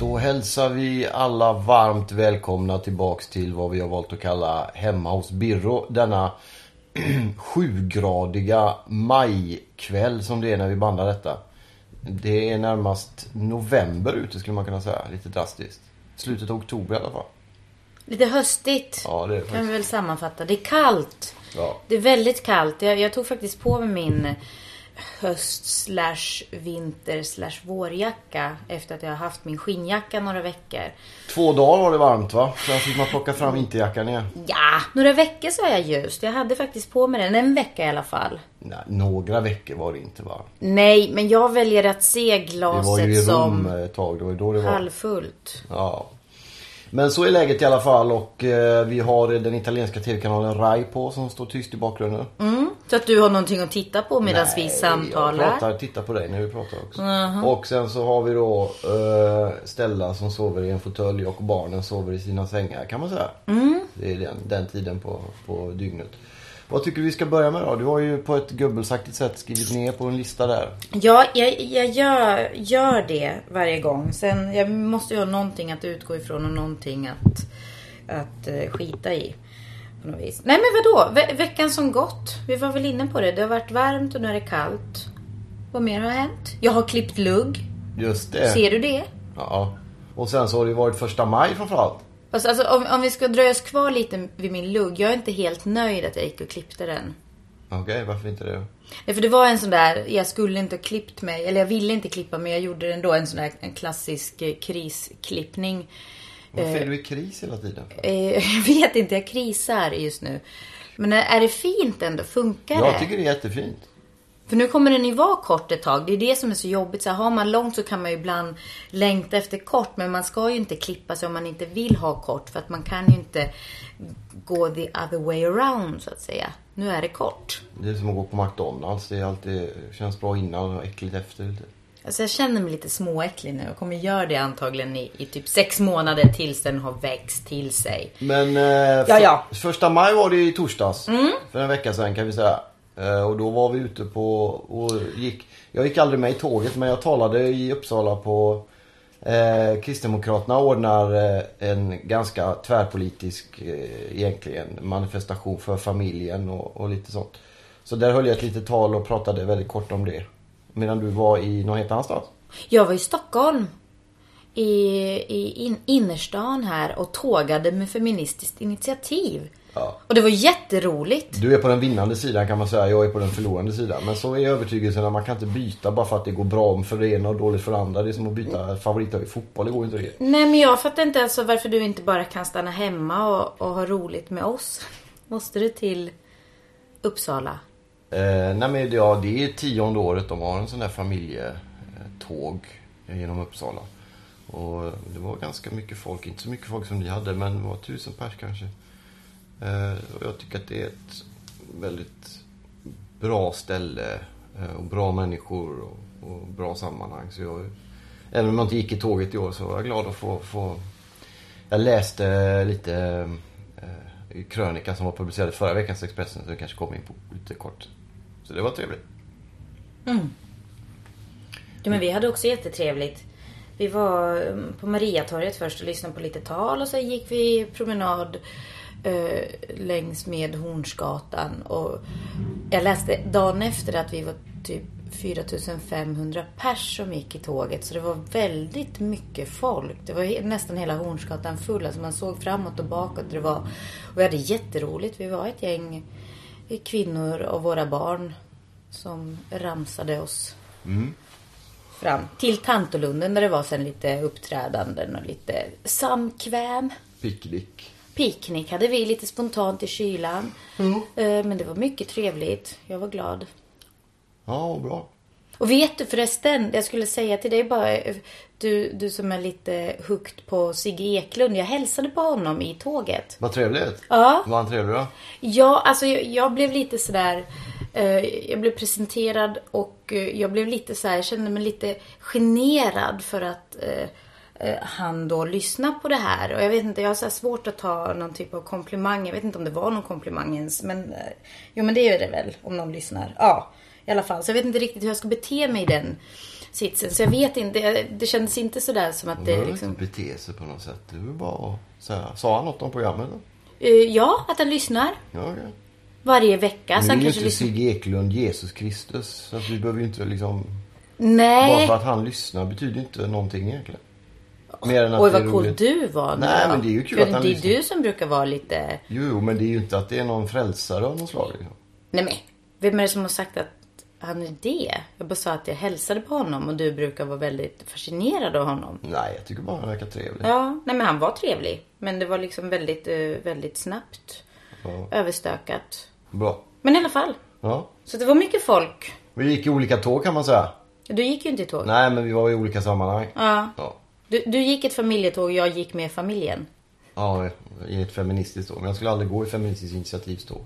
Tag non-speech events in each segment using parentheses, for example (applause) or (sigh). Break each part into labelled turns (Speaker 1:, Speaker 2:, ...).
Speaker 1: Då hälsar vi alla varmt välkomna tillbaks till vad vi har valt att kalla Hemma hos Birro. Denna (clears throat) sjugradiga majkväll som det är när vi bandar detta. Det är närmast november ute skulle man kunna säga, lite drastiskt. Slutet av oktober i alla fall.
Speaker 2: Lite höstigt.
Speaker 1: Ja, det är det
Speaker 2: kan vi
Speaker 1: faktiskt.
Speaker 2: väl sammanfatta. Det är kallt.
Speaker 1: Ja.
Speaker 2: Det är väldigt kallt. Jag, jag tog faktiskt på mig min höst slash vinter slash vårjacka efter att jag har haft min skinnjacka några veckor.
Speaker 1: Två dagar var det varmt va? Sen fick man plocka fram vinterjackan igen.
Speaker 2: Ja, några veckor så är jag ljust. Jag hade faktiskt på mig den en vecka i alla fall.
Speaker 1: Nej, några veckor var det inte varmt.
Speaker 2: Nej, men jag väljer att se
Speaker 1: Det var ju i
Speaker 2: glaset
Speaker 1: Rom
Speaker 2: som
Speaker 1: eh, ett tag, det var ju då det var.
Speaker 2: halvfullt.
Speaker 1: Ja. Men så är läget i alla fall och eh, vi har den italienska tv-kanalen Rai på som står tyst i bakgrunden.
Speaker 2: Mm. Så att du har någonting att titta på medan vi
Speaker 1: Jag
Speaker 2: samtalar.
Speaker 1: pratar, tittar på dig när vi pratar också. Och sen så har vi då eh, Stella som sover i en fåtölj och barnen sover i sina sängar kan man säga.
Speaker 2: Mm.
Speaker 1: Det är den, den tiden på, på dygnet. Vad tycker du vi ska börja med då? Du har ju på ett gubbelsaktigt sätt skrivit ner på en lista där.
Speaker 2: Ja, jag, jag gör, gör det varje gång. Sen jag måste ju ha någonting att utgå ifrån och någonting att, att eh, skita i. På något vis. Nej men vadå? Ve veckan som gått. Vi var väl inne på det. Det har varit varmt och nu är det kallt. Vad mer har hänt? Jag har klippt lugg.
Speaker 1: Just det.
Speaker 2: Ser du det?
Speaker 1: Ja. Och sen så har det ju varit första maj framförallt.
Speaker 2: Alltså, alltså, om, om vi ska dröja oss kvar lite vid min lugg. Jag är inte helt nöjd att jag gick och klippte den.
Speaker 1: Okej, varför inte det?
Speaker 2: Nej, för det var en sån där, jag skulle inte ha klippt mig, eller jag ville inte klippa men jag gjorde det ändå. En sån där en klassisk eh, krisklippning.
Speaker 1: Varför är du i kris hela tiden? för?
Speaker 2: Eh, (laughs) jag vet inte, jag krisar just nu. Men är det fint ändå? Funkar det?
Speaker 1: Jag tycker det är jättefint.
Speaker 2: För nu kommer den ju vara kort ett tag. Det är det som är så jobbigt. Så här, har man långt så kan man ju ibland längta efter kort. Men man ska ju inte klippa sig om man inte vill ha kort. För att man kan ju inte gå the other way around så att säga. Nu är det kort.
Speaker 1: Det är som att gå på McDonalds. Det är alltid, känns bra innan och äckligt efter. lite.
Speaker 2: Alltså jag känner mig lite småäcklig nu och kommer göra det antagligen i, i typ sex månader tills den har växt till sig.
Speaker 1: Men eh, för,
Speaker 2: ja. Mm.
Speaker 1: första maj var det i torsdags. För en vecka sedan kan vi säga. Eh, och då var vi ute på och gick. Jag gick aldrig med i tåget men jag talade i Uppsala på eh, Kristdemokraterna ordnar eh, en ganska tvärpolitisk eh, egentligen manifestation för familjen och, och lite sånt. Så där höll jag ett litet tal och pratade väldigt kort om det. Medan du var i någon helt annanstans.
Speaker 2: Jag var i Stockholm. I, i in, innerstan här och tågade med Feministiskt initiativ.
Speaker 1: Ja.
Speaker 2: Och det var jätteroligt.
Speaker 1: Du är på den vinnande sidan kan man säga, jag är på den förlorande sidan. Men så är övertygelsen att man kan inte byta bara för att det går bra om för det ena och dåligt för det andra. Det är som att byta favoritlag i fotboll, det går inte det.
Speaker 2: Nej men jag fattar inte alltså varför du inte bara kan stanna hemma och, och ha roligt med oss. Måste du till Uppsala?
Speaker 1: Eh, nej men det- ja, det är tionde året de har en sån där familjetåg eh, genom Uppsala. Och det var ganska mycket folk, inte så mycket folk som ni hade men det var tusen pers kanske. Eh, och jag tycker att det är ett väldigt bra ställe eh, och bra människor och, och bra sammanhang. Så jag, även om jag inte gick i tåget i år så var jag glad att få... få jag läste lite eh, i krönika som var publicerad i förra veckans Expressen så jag kanske kom in på lite kort. Så det var trevligt.
Speaker 2: Ja, men vi hade också jättetrevligt. Vi var mm, på Mariatorget först och lyssnade på lite tal och sen gick vi promenad eh, längs med Hornsgatan. Och jag läste dagen efter att vi var typ 4500 pers som gick i tåget. Så det var väldigt mycket folk. Det var he- nästan hela Hornsgatan full. Alltså man såg framåt och bakåt. Det var, och vi hade jätteroligt. Vi var ett gäng kvinnor och våra barn som ramsade oss fram till Tantolunden där det var sen lite uppträdanden och lite samkväm.
Speaker 1: Picknick.
Speaker 2: Picknick hade vi lite spontant i kylan. Eh, Men det var mycket trevligt. Jag var glad.
Speaker 1: Ja, bra.
Speaker 2: Och vet du förresten, jag skulle säga till dig bara, eh, du, du som är lite hooked på Sigge Eklund. Jag hälsade på honom i tåget.
Speaker 1: Vad trevligt.
Speaker 2: Ja.
Speaker 1: Var han trevlig då?
Speaker 2: Ja, alltså jag, jag blev lite sådär... Eh, jag blev presenterad och eh, jag blev lite så här, jag kände mig lite generad för att eh, eh, han då lyssnar på det här. Och jag vet inte, jag har så här svårt att ta någon typ av komplimang. Jag vet inte om det var någon komplimang ens. Men, eh, jo, men det är det väl om någon lyssnar. Ja, i alla fall. Så jag vet inte riktigt hur jag ska bete mig i den sitsen. Så jag vet inte, det, det kändes inte sådär som att
Speaker 1: Han
Speaker 2: det
Speaker 1: behöver
Speaker 2: liksom...
Speaker 1: inte bete sig på något sätt. Det är väl bara att säga. Sa han något om programmet? då?
Speaker 2: Eh, ja, att han lyssnar
Speaker 1: Ja, okej.
Speaker 2: varje vecka. Så
Speaker 1: nu är
Speaker 2: Alltså, han
Speaker 1: ju
Speaker 2: kanske
Speaker 1: inte
Speaker 2: lyssnar...
Speaker 1: Sigge Eklund Jesus Kristus. Så att vi behöver ju inte liksom... Bara
Speaker 2: Nej.
Speaker 1: för att han lyssnar betyder ju inte någonting egentligen. Mer än att
Speaker 2: Oj
Speaker 1: det är
Speaker 2: vad cool
Speaker 1: roligt.
Speaker 2: du var nu
Speaker 1: Nej,
Speaker 2: då.
Speaker 1: men det är ju kul
Speaker 2: För
Speaker 1: att han
Speaker 2: Det är
Speaker 1: lyssnar.
Speaker 2: du som brukar vara lite...
Speaker 1: Jo, men det är ju inte att det är någon frälsare av något slag. Liksom.
Speaker 2: Nej men, vem är det som har sagt att han är det? Jag bara sa att jag hälsade på honom och du brukar vara väldigt fascinerad av honom.
Speaker 1: Nej, jag tycker bara han verkar trevlig.
Speaker 2: Ja, nej men han var trevlig. Men det var liksom väldigt, eh, väldigt snabbt.
Speaker 1: Ja.
Speaker 2: Överstökat.
Speaker 1: Bra.
Speaker 2: Men i alla fall.
Speaker 1: Ja.
Speaker 2: Så det var mycket folk.
Speaker 1: Vi gick i olika tåg kan man säga.
Speaker 2: Du gick ju inte i tåg.
Speaker 1: Nej, men vi var i olika sammanhang.
Speaker 2: Ja.
Speaker 1: Ja,
Speaker 2: Du, du gick ett familjetåg och jag gick med familjen.
Speaker 1: ja i ett feministiskt tåg. Men jag skulle aldrig gå i feministiskt initiativståg.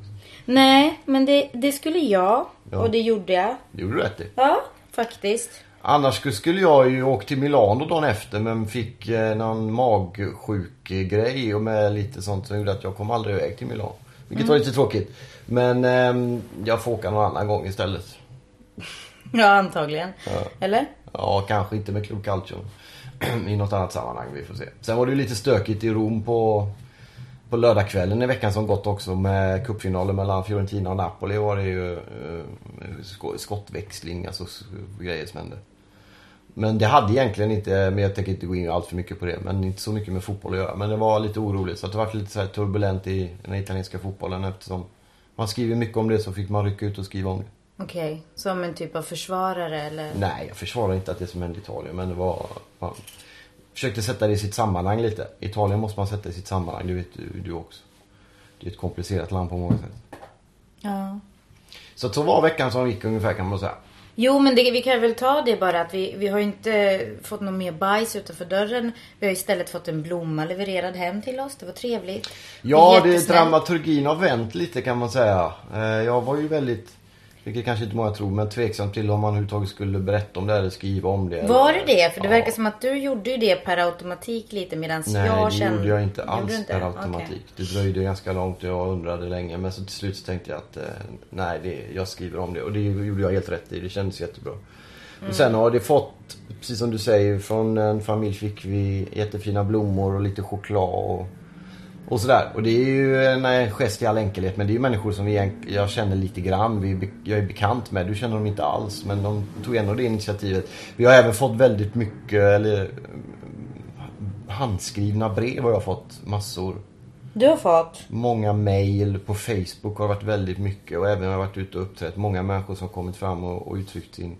Speaker 2: Nej, men det, det skulle jag.
Speaker 1: Ja.
Speaker 2: Och det gjorde jag.
Speaker 1: Det gjorde du rätt i.
Speaker 2: Ja, faktiskt.
Speaker 1: Annars skulle- skulle jag ju åkt till Milano dagen efter men fick eh, någon magsjuk eh, grej och med lite sånt som gjorde att jag kom aldrig iväg till Milano. Vilket var lite tråkigt. Men ehm, jag får åka någon annan gång istället.
Speaker 2: Ja, antagligen. Eller?
Speaker 1: Ja, kanske inte med Club Calcio. (clears throat) I något annat sammanhang, vi får se. Sen var det ju lite stökigt i Rom på, på lördagskvällen i veckan som gått också med cupfinalen mellan Fiorentina och Napoli var det ju eh, sko- skottväxling, alltså s- grejer som hände. Men det hade egentligen inte, men jag tänker inte gå in allt för mycket på det, men inte så mycket med fotboll att göra. Men det var lite oroligt så att det var lite så här turbulent i den italienska fotbollen eftersom man skriver mycket om det så fick man rycka ut och skriva om det.
Speaker 2: Okej, som en typ av försvarare eller?
Speaker 1: Nej, jag försvarar inte att det som hände i Italien, men det var... Man försökte sätta det i sitt sammanhang lite. Italien måste man sätta i sitt sammanhang, det vet du, du också. Det är ett komplicerat land på många sätt.
Speaker 2: Ja.
Speaker 1: Så att så var veckan som gick ungefär kan man säga.
Speaker 2: Jo, men det, vi kan väl ta det bara att vi, vi har ju inte fått någon mer bajs utanför dörren. Vi har istället fått en blomma levererad hem till oss. Det var trevligt.
Speaker 1: Ja, det
Speaker 2: Jättesnällt.
Speaker 1: dramaturgin har vänt lite kan man säga. Eh, Jag var ju väldigt, vilket kanske inte många tror, men tveksam till om man överhuvudtaget skulle berätta om det här eller skriva om det.
Speaker 2: Var det
Speaker 1: eller-
Speaker 2: det? För det
Speaker 1: Ja.
Speaker 2: verkar som att du gjorde ju det per automatik lite medan
Speaker 1: Nej,
Speaker 2: Alltså, jag
Speaker 1: det
Speaker 2: kände...
Speaker 1: gjorde jag inte alls
Speaker 2: du
Speaker 1: per
Speaker 2: Okej.
Speaker 1: automatik. Det dröjde ganska långt och jag undrade länge. Men så till slut så tänkte jag att eh, nej, det, jag skriver om det. Och det gjorde jag helt rätt i. Det kändes jättebra.
Speaker 2: Mm.
Speaker 1: Och sen har det fått, precis som du säger, från en familj fick vi jättefina blommor och lite choklad. Och, och sådär. Och det är ju en eh, gest i all enkelhet. Men det är ju människor som vi, egent- jag känner lite grann. Vi, är be- jag är bekant med. Du känner dem inte alls. Men de tog ändå det initiativet. Vi har även fått väldigt mycket, eller eh, handskrivna brev har jag fått massor.
Speaker 2: Du har fått?
Speaker 1: Många mejl på Facebook har det varit väldigt mycket. Och även har jag varit ute och uppträtt. Många människor som kommit fram och, och uttryckt sin,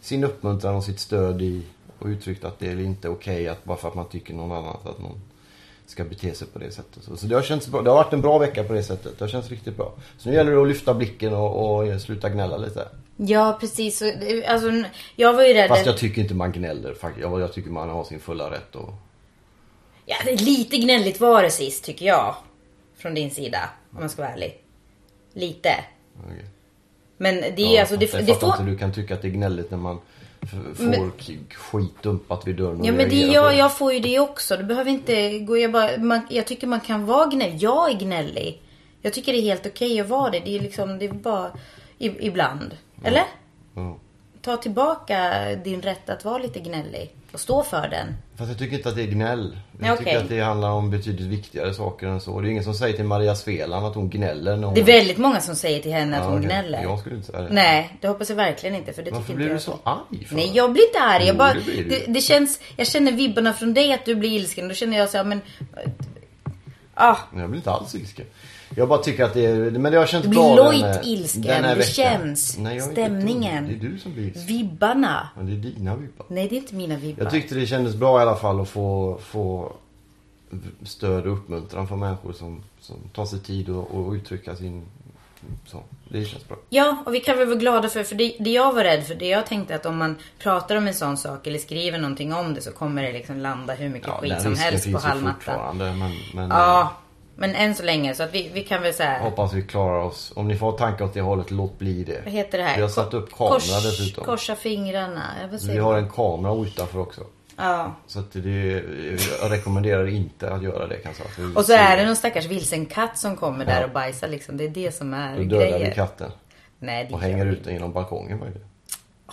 Speaker 1: sin uppmuntran och sitt stöd i och uttryckt att det är inte okej att bara för att man tycker någon annan att någon ska bete sig på det sättet. Så, så det, har känts bra. det har varit en bra vecka på det sättet. Det har känts riktigt bra. Så nu gäller det att lyfta blicken och, och sluta gnälla lite.
Speaker 2: Ja, precis. Så, Alltså, jag var ju rädd...
Speaker 1: Fast jag tycker inte man gnäller. Fakt- Jag, jag tycker man har sin fulla rätt. Och,
Speaker 2: Ja, det är lite gnälligt var det sist tycker jag. Från din sida, om man ska vara ärlig. Lite.
Speaker 1: Okej.
Speaker 2: Men det är
Speaker 1: Ja,
Speaker 2: alltså, det,
Speaker 1: fast jag
Speaker 2: det
Speaker 1: fattar
Speaker 2: får...
Speaker 1: inte, du kan tycka att det är gnälligt när man f- får
Speaker 2: Men-
Speaker 1: k- skit dumpat vid dörren och
Speaker 2: Ja men det,
Speaker 1: reagerar på
Speaker 2: jag, jag får ju det också. Du behöver inte gå... Jag, bara, man, jag tycker man kan vara gnällig. Jag är gnällig. Jag tycker det är helt okej att vara det. Det är liksom, det är bara... I, ibland. Eller?
Speaker 1: Ja.
Speaker 2: Ta tillbaka din rätt att vara lite gnällig. Och stå för den.
Speaker 1: Fast jag tycker inte att det är gnäll. Jag
Speaker 2: Ja,
Speaker 1: tycker
Speaker 2: okej.
Speaker 1: att det handlar om betydligt viktigare saker än så. Det är ingen som säger till Maria Sveland att hon gnäller när hon...
Speaker 2: Det är väldigt många som säger till henne att
Speaker 1: Ja,
Speaker 2: hon
Speaker 1: okej.
Speaker 2: gnäller.
Speaker 1: Jag skulle inte säga det.
Speaker 2: Nej, det hoppas jag verkligen inte. För det
Speaker 1: Varför
Speaker 2: tycker
Speaker 1: blir
Speaker 2: inte
Speaker 1: du
Speaker 2: jag.
Speaker 1: så arg för?
Speaker 2: Nej, jag blir inte arg. Jag,
Speaker 1: Jo,
Speaker 2: bara,
Speaker 1: det blir du.
Speaker 2: det, det känns, jag känner vibbarna från dig att du blir ilsken. Då känner jag så här, men... Ah,
Speaker 1: Jag blir inte alls ilsken. Jag bara tycker att det är... Men jag har känt
Speaker 2: Blir
Speaker 1: av den
Speaker 2: lojt
Speaker 1: här-
Speaker 2: ilsken.
Speaker 1: den här
Speaker 2: Det
Speaker 1: veckan.
Speaker 2: känns.
Speaker 1: Nej, jag är
Speaker 2: Stämningen.
Speaker 1: Inte, ett dugg. det är du som blir ilsken.
Speaker 2: vibbarna.
Speaker 1: Men det är dina vibbar.
Speaker 2: Nej, det är inte mina vibbar.
Speaker 1: Jag tyckte det kändes bra i alla fall att få, få stöd och uppmuntran från människor som, som tar sig tid och, och uttrycka sin... Så. Det känns bra.
Speaker 2: Ja, och vi kan väl vara glada för, för det, det jag var rädd för, det jag tänkte att om man pratar om en sån sak eller skriver någonting om det så kommer det liksom landa hur mycket skit som helst på
Speaker 1: finns ju
Speaker 2: halmmattan.
Speaker 1: fortfarande men, men
Speaker 2: Ja, men än så länge så att vi, vi kan väl säga
Speaker 1: eh, hoppas vi klarar oss. Om ni får tankar åt det hållet, låt bli det.
Speaker 2: vad heter det här?
Speaker 1: Vi har satt upp kamera dessutom.
Speaker 2: Korsa fingrarna, eller vad
Speaker 1: Vi
Speaker 2: säger
Speaker 1: har
Speaker 2: man?
Speaker 1: en kamera utanför också.
Speaker 2: Ja.
Speaker 1: Så att det, jag rekommenderar inte att göra det kan jag säga. För vi
Speaker 2: Och så
Speaker 1: ser-
Speaker 2: är det någon stackars vilsen katt som kommer där och bajsar liksom. Det är det som är
Speaker 1: Då dödar
Speaker 2: grejen.
Speaker 1: vi katten
Speaker 2: Nej, det
Speaker 1: och
Speaker 2: gör
Speaker 1: hänger
Speaker 2: vi
Speaker 1: ut den genom balkongen. vad är det? Ah.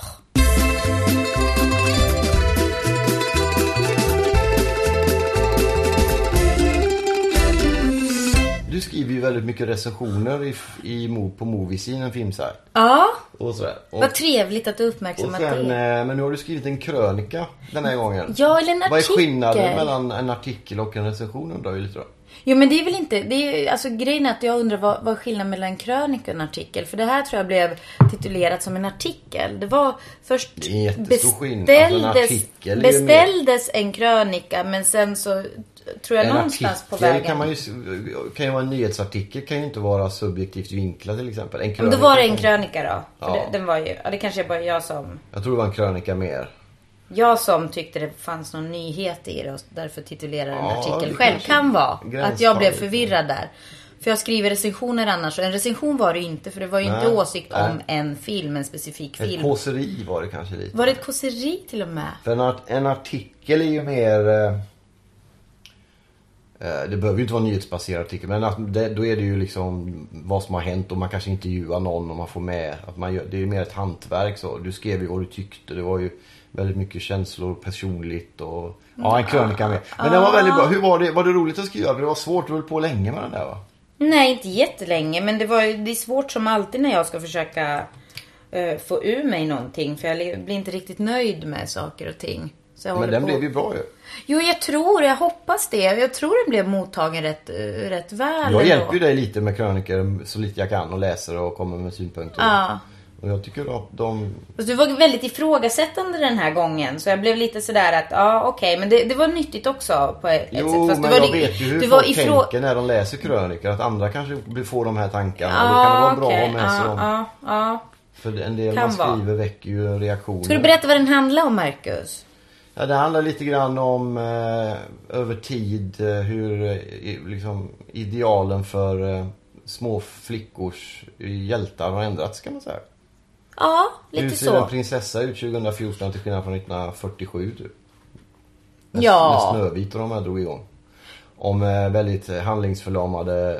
Speaker 1: Du skriver ju väldigt mycket recensioner i, i, Mo- på Moviescene, en filmsajt.
Speaker 2: Ja,
Speaker 1: Och sådär. Och,
Speaker 2: vad trevligt att du
Speaker 1: och
Speaker 2: uppmärksammat
Speaker 1: sen,
Speaker 2: det.
Speaker 1: eh, men nu har du skrivit en krönika den här gången.
Speaker 2: Ja, eller en
Speaker 1: Vad är
Speaker 2: artikel.
Speaker 1: skillnaden mellan en artikel och en recension undrar jag lite då.
Speaker 2: Jo men det är väl inte, det är, alltså grejen är att jag undrar vad, vad är skillnaden mellan en krönika och en artikel? För det här tror jag blev titulerat som en artikel. Det var först
Speaker 1: Det är en jättestor skillnad. Alltså, en
Speaker 2: beställdes,
Speaker 1: artikel är ju mer-
Speaker 2: beställdes en krönika men sen så tror jag
Speaker 1: En
Speaker 2: någonstans
Speaker 1: artikel
Speaker 2: på vägen.
Speaker 1: kan, man ju, kan ju vara en nyhetsartikel kan ju inte vara subjektivt vinklad till exempel. En
Speaker 2: Men då
Speaker 1: krönika,
Speaker 2: var det en krönika då. För
Speaker 1: Ja.
Speaker 2: det, den var ju, ja det kanske är bara jag som,
Speaker 1: Jag tror det var en krönika mer.
Speaker 2: jag som tyckte det fanns någon nyhet i det och därför titulerade en
Speaker 1: Ja,
Speaker 2: artikel
Speaker 1: det
Speaker 2: själv.
Speaker 1: kanske
Speaker 2: Kan vara att jag
Speaker 1: gränsfall
Speaker 2: blev
Speaker 1: lite.
Speaker 2: förvirrad där. För jag skriver recensioner annars och en recension var det ju inte för det var ju inte
Speaker 1: Nej,
Speaker 2: åsikt
Speaker 1: nej.
Speaker 2: om en film, en specifik
Speaker 1: Ett
Speaker 2: film.
Speaker 1: kåseri var det kanske lite.
Speaker 2: Var det ett kåseri till och med?
Speaker 1: För en, art, en artikel är ju mer... eh, eh, Det behöver ju inte vara en nyhetsbaserad artikel men att det, då är det ju liksom vad som har hänt och man kanske intervjuar någon och man får med. Att man gör, det är ju mer ett hantverk så. Du skrev ju vad du tyckte. Det var ju väldigt mycket känslor personligt och... Ja, en krönika med. Men den var väldigt bra. Hur var det? Var det roligt att skriva? Det var svårt. Du höll på länge med den där va?
Speaker 2: Nej, inte jättelänge. Men det, var, ju- det är svårt som alltid när jag ska försöka eh, få ur mig någonting. För jag li- blir inte riktigt nöjd med saker och ting. Så jag
Speaker 1: Men
Speaker 2: håller
Speaker 1: den
Speaker 2: på.
Speaker 1: blev ju bra ju.
Speaker 2: Jo, jag tror, jag hoppas det. Jag tror den blev mottagen rätt, eh, rätt väl.
Speaker 1: Jag
Speaker 2: ändå.
Speaker 1: hjälper ju dig lite med krönikor så lite jag kan och läser och kommer med synpunkter.
Speaker 2: Ja.
Speaker 1: Och jag tycker att de...
Speaker 2: Fast du var väldigt ifrågasättande den här gången. Så jag blev lite sådär att, ja okej. men det, det var nyttigt också på ett sätt.
Speaker 1: Jo,
Speaker 2: Fast
Speaker 1: men
Speaker 2: det var,
Speaker 1: jag
Speaker 2: ri-
Speaker 1: vet ju hur
Speaker 2: du
Speaker 1: folk
Speaker 2: ifrå-
Speaker 1: tänker när de läser krönikor. Att andra kanske blir- får de här tankarna. och då kan det
Speaker 2: Ja,
Speaker 1: vara bra
Speaker 2: okej.
Speaker 1: att ha med sig
Speaker 2: Ja,
Speaker 1: dem.
Speaker 2: ja, ja.
Speaker 1: För en del
Speaker 2: Kan
Speaker 1: man
Speaker 2: vara.
Speaker 1: skriver väcker ju reaktioner.
Speaker 2: Ska du berätta vad den handlar om, Marcus?
Speaker 1: Ja, det handlar lite grann om eh, över tid eh, hur eh, i- liksom, idealen för eh, små flickors hjältar har ändrats kan man säga.
Speaker 2: Ja, lite
Speaker 1: Hur
Speaker 2: så.
Speaker 1: ser en prinsessa ut 2014 till skillnad från 1947? Typ? När,
Speaker 2: Ja.
Speaker 1: när Snövit och de här drog igång. Om eh, väldigt eh, handlingsförlamade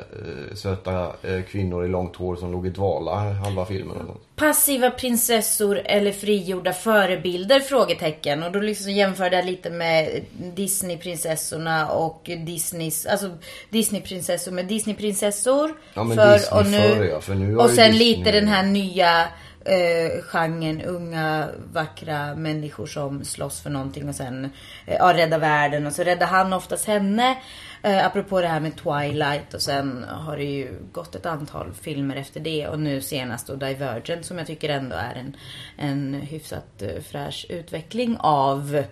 Speaker 1: eh, söta eh, kvinnor i långt hår som låg i dvala halva filmen. Och sånt.
Speaker 2: Passiva prinsessor eller frigjorda förebilder? Frågetecken. Och då liksom jämförde jag lite med Disney-prinsessorna och Disneys, alltså Disney-prinsessor med Disney-prinsessor.
Speaker 1: Ja, men Disney
Speaker 2: och nu,
Speaker 1: förr, ja, för nu har
Speaker 2: och
Speaker 1: ju
Speaker 2: sen
Speaker 1: Disney-
Speaker 2: lite den här nya eh, genren unga vackra människor som slåss för någonting och sen eh, ja, rädda världen och så räddar han oftast henne. Eh, apropå det här med Twilight och sen har det ju gått ett antal filmer efter det och nu senast då Divergent som jag tycker ändå är en, en hyfsat eh, fräsch utveckling av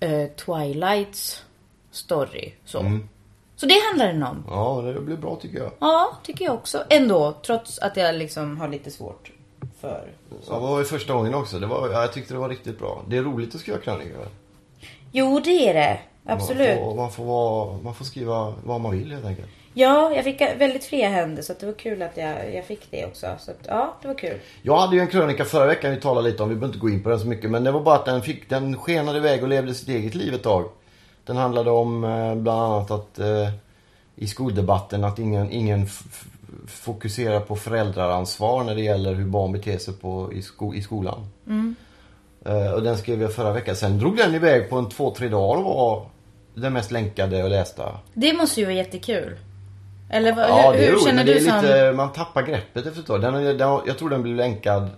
Speaker 2: eh, Twilights story. Så.
Speaker 1: Mm.
Speaker 2: så det handlar den om.
Speaker 1: Ja, det blir bra tycker jag.
Speaker 2: Ja, tycker jag också. Ändå, trots att jag liksom har lite svårt för...
Speaker 1: Ja, det var ju första gången också. Det var, ja, jag tyckte det var riktigt bra. Det är roligt att skriva krönikor. va?
Speaker 2: Jo, det är det.
Speaker 1: Man
Speaker 2: Absolut.
Speaker 1: får, man, får vara, man får skriva vad man vill helt enkelt.
Speaker 2: Ja, jag fick väldigt fria händer så att det var kul att jag, jag fick det också. Så att, ja, det var kul.
Speaker 1: Jag hade ju en krönika förra veckan vi talade lite om. Vi behöver inte gå in på den så mycket. Men det var bara att den, fick, den skenade iväg och levde sitt eget liv ett tag. Den handlade om eh, bland annat att eh, i skoldebatten att ingen, ingen f- f- fokuserar på föräldraransvar när det gäller hur barn beter sig på, i, sko, i skolan. Eh, och den skrev jag förra veckan. Sen drog den iväg på en två, tre dagar och var den mest länkade och lästa.
Speaker 2: Det måste ju vara jättekul. Eller vad,
Speaker 1: Ja,
Speaker 2: hur,
Speaker 1: det är
Speaker 2: hur
Speaker 1: roligt,
Speaker 2: känner
Speaker 1: men det
Speaker 2: du
Speaker 1: är
Speaker 2: som...
Speaker 1: lite, man tappar greppet efter ett tag. Den, den, jag tror den blev länkad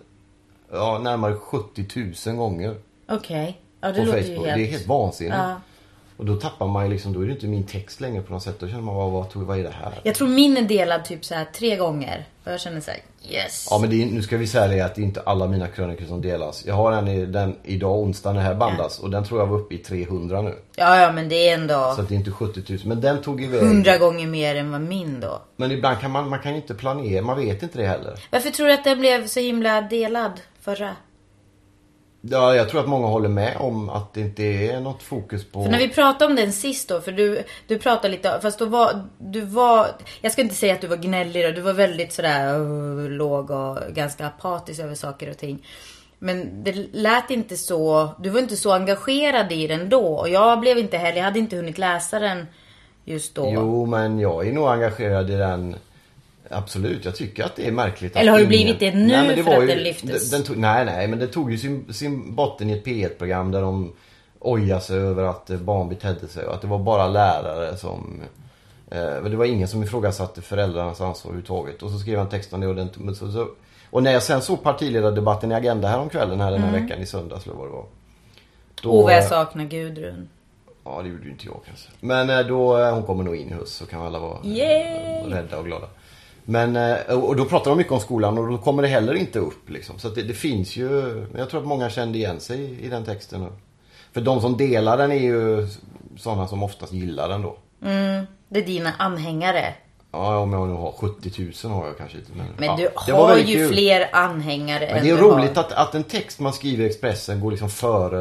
Speaker 1: ja, närmare 70 000 gånger
Speaker 2: Okej. Ja, det
Speaker 1: på
Speaker 2: låter
Speaker 1: Facebook.
Speaker 2: ju
Speaker 1: Det är
Speaker 2: helt...
Speaker 1: helt vansinnigt.
Speaker 2: Ja.
Speaker 1: Och då tappar man ju liksom, då är det inte min text längre på något sätt. Då känner man bara, vad, vad, vad är det här?
Speaker 2: Jag tror min är delad typ så här tre gånger. Och jag känner så här, yes.
Speaker 1: Ja men det är, nu ska vi säga det att det är inte alla mina krönikor som delas. Jag har en i, den idag onsdag när det här bandas och den tror jag var uppe i 300 nu.
Speaker 2: Ja, ja, men det är ändå
Speaker 1: Så att det är inte 70 000. Men den tog iväg.
Speaker 2: hundra gånger mer än vad min då.
Speaker 1: Men ibland kan man, man kan ju inte planera, man vet inte det heller.
Speaker 2: Varför tror du att den blev så himla delad förra?
Speaker 1: Ja, jag tror att många håller med om att det inte är något fokus på...
Speaker 2: För när vi pratade om den sist då, för du, du pratade lite, fast då var, du var, jag ska inte säga att du var gnällig då, du var väldigt sådär uh, låg och ganska apatisk över saker och ting. Men det lät inte så, du var inte så engagerad i den då och jag blev inte heller, jag hade inte hunnit läsa den just då.
Speaker 1: Jo, men jag är nog engagerad i den. Absolut, jag tycker att det är märkligt.
Speaker 2: Eller
Speaker 1: att
Speaker 2: har du blivit det nu
Speaker 1: Nej, men det
Speaker 2: för
Speaker 1: var
Speaker 2: att
Speaker 1: ju-
Speaker 2: den lyftes?
Speaker 1: Den tog, nej, nej, men det tog ju sin, sin botten i ett P1-program där de ojade sig över att eh, barn betedde sig och att det var bara lärare som... Eh, men det var ingen som ifrågasatte föräldrarnas ansvar överhuvudtaget. Och så skrev han text om det och den... men Så, så, och när jag sen såg partiledardebatten i Agenda häromkvällen här den här veckan i söndags eller vad det var. Då,
Speaker 2: Åh vad Mm. jag saknar Gudrun.
Speaker 1: Ja, det gjorde ju inte jag kanske. Men eh, då, eh, hon kommer nog in i höst så kan alla vara eh,
Speaker 2: Yay!
Speaker 1: rädda och glada. Men, eh, och då pratar de mycket om skolan och då kommer det heller inte upp liksom. Så att det, det finns ju, men jag tror att många kände igen sig i, i den texten. Och- För de som delar den är ju sådana som oftast gillar den då.
Speaker 2: Mm, det är dina anhängare.
Speaker 1: Ja, om jag nu har 70 000 har jag kanske inte. Men,
Speaker 2: Men
Speaker 1: ja,
Speaker 2: du
Speaker 1: det var
Speaker 2: har
Speaker 1: väldigt
Speaker 2: ju
Speaker 1: kul.
Speaker 2: fler anhängare
Speaker 1: Men
Speaker 2: än
Speaker 1: det är
Speaker 2: du
Speaker 1: roligt
Speaker 2: har.
Speaker 1: att, att en text man skriver i Expressen går liksom före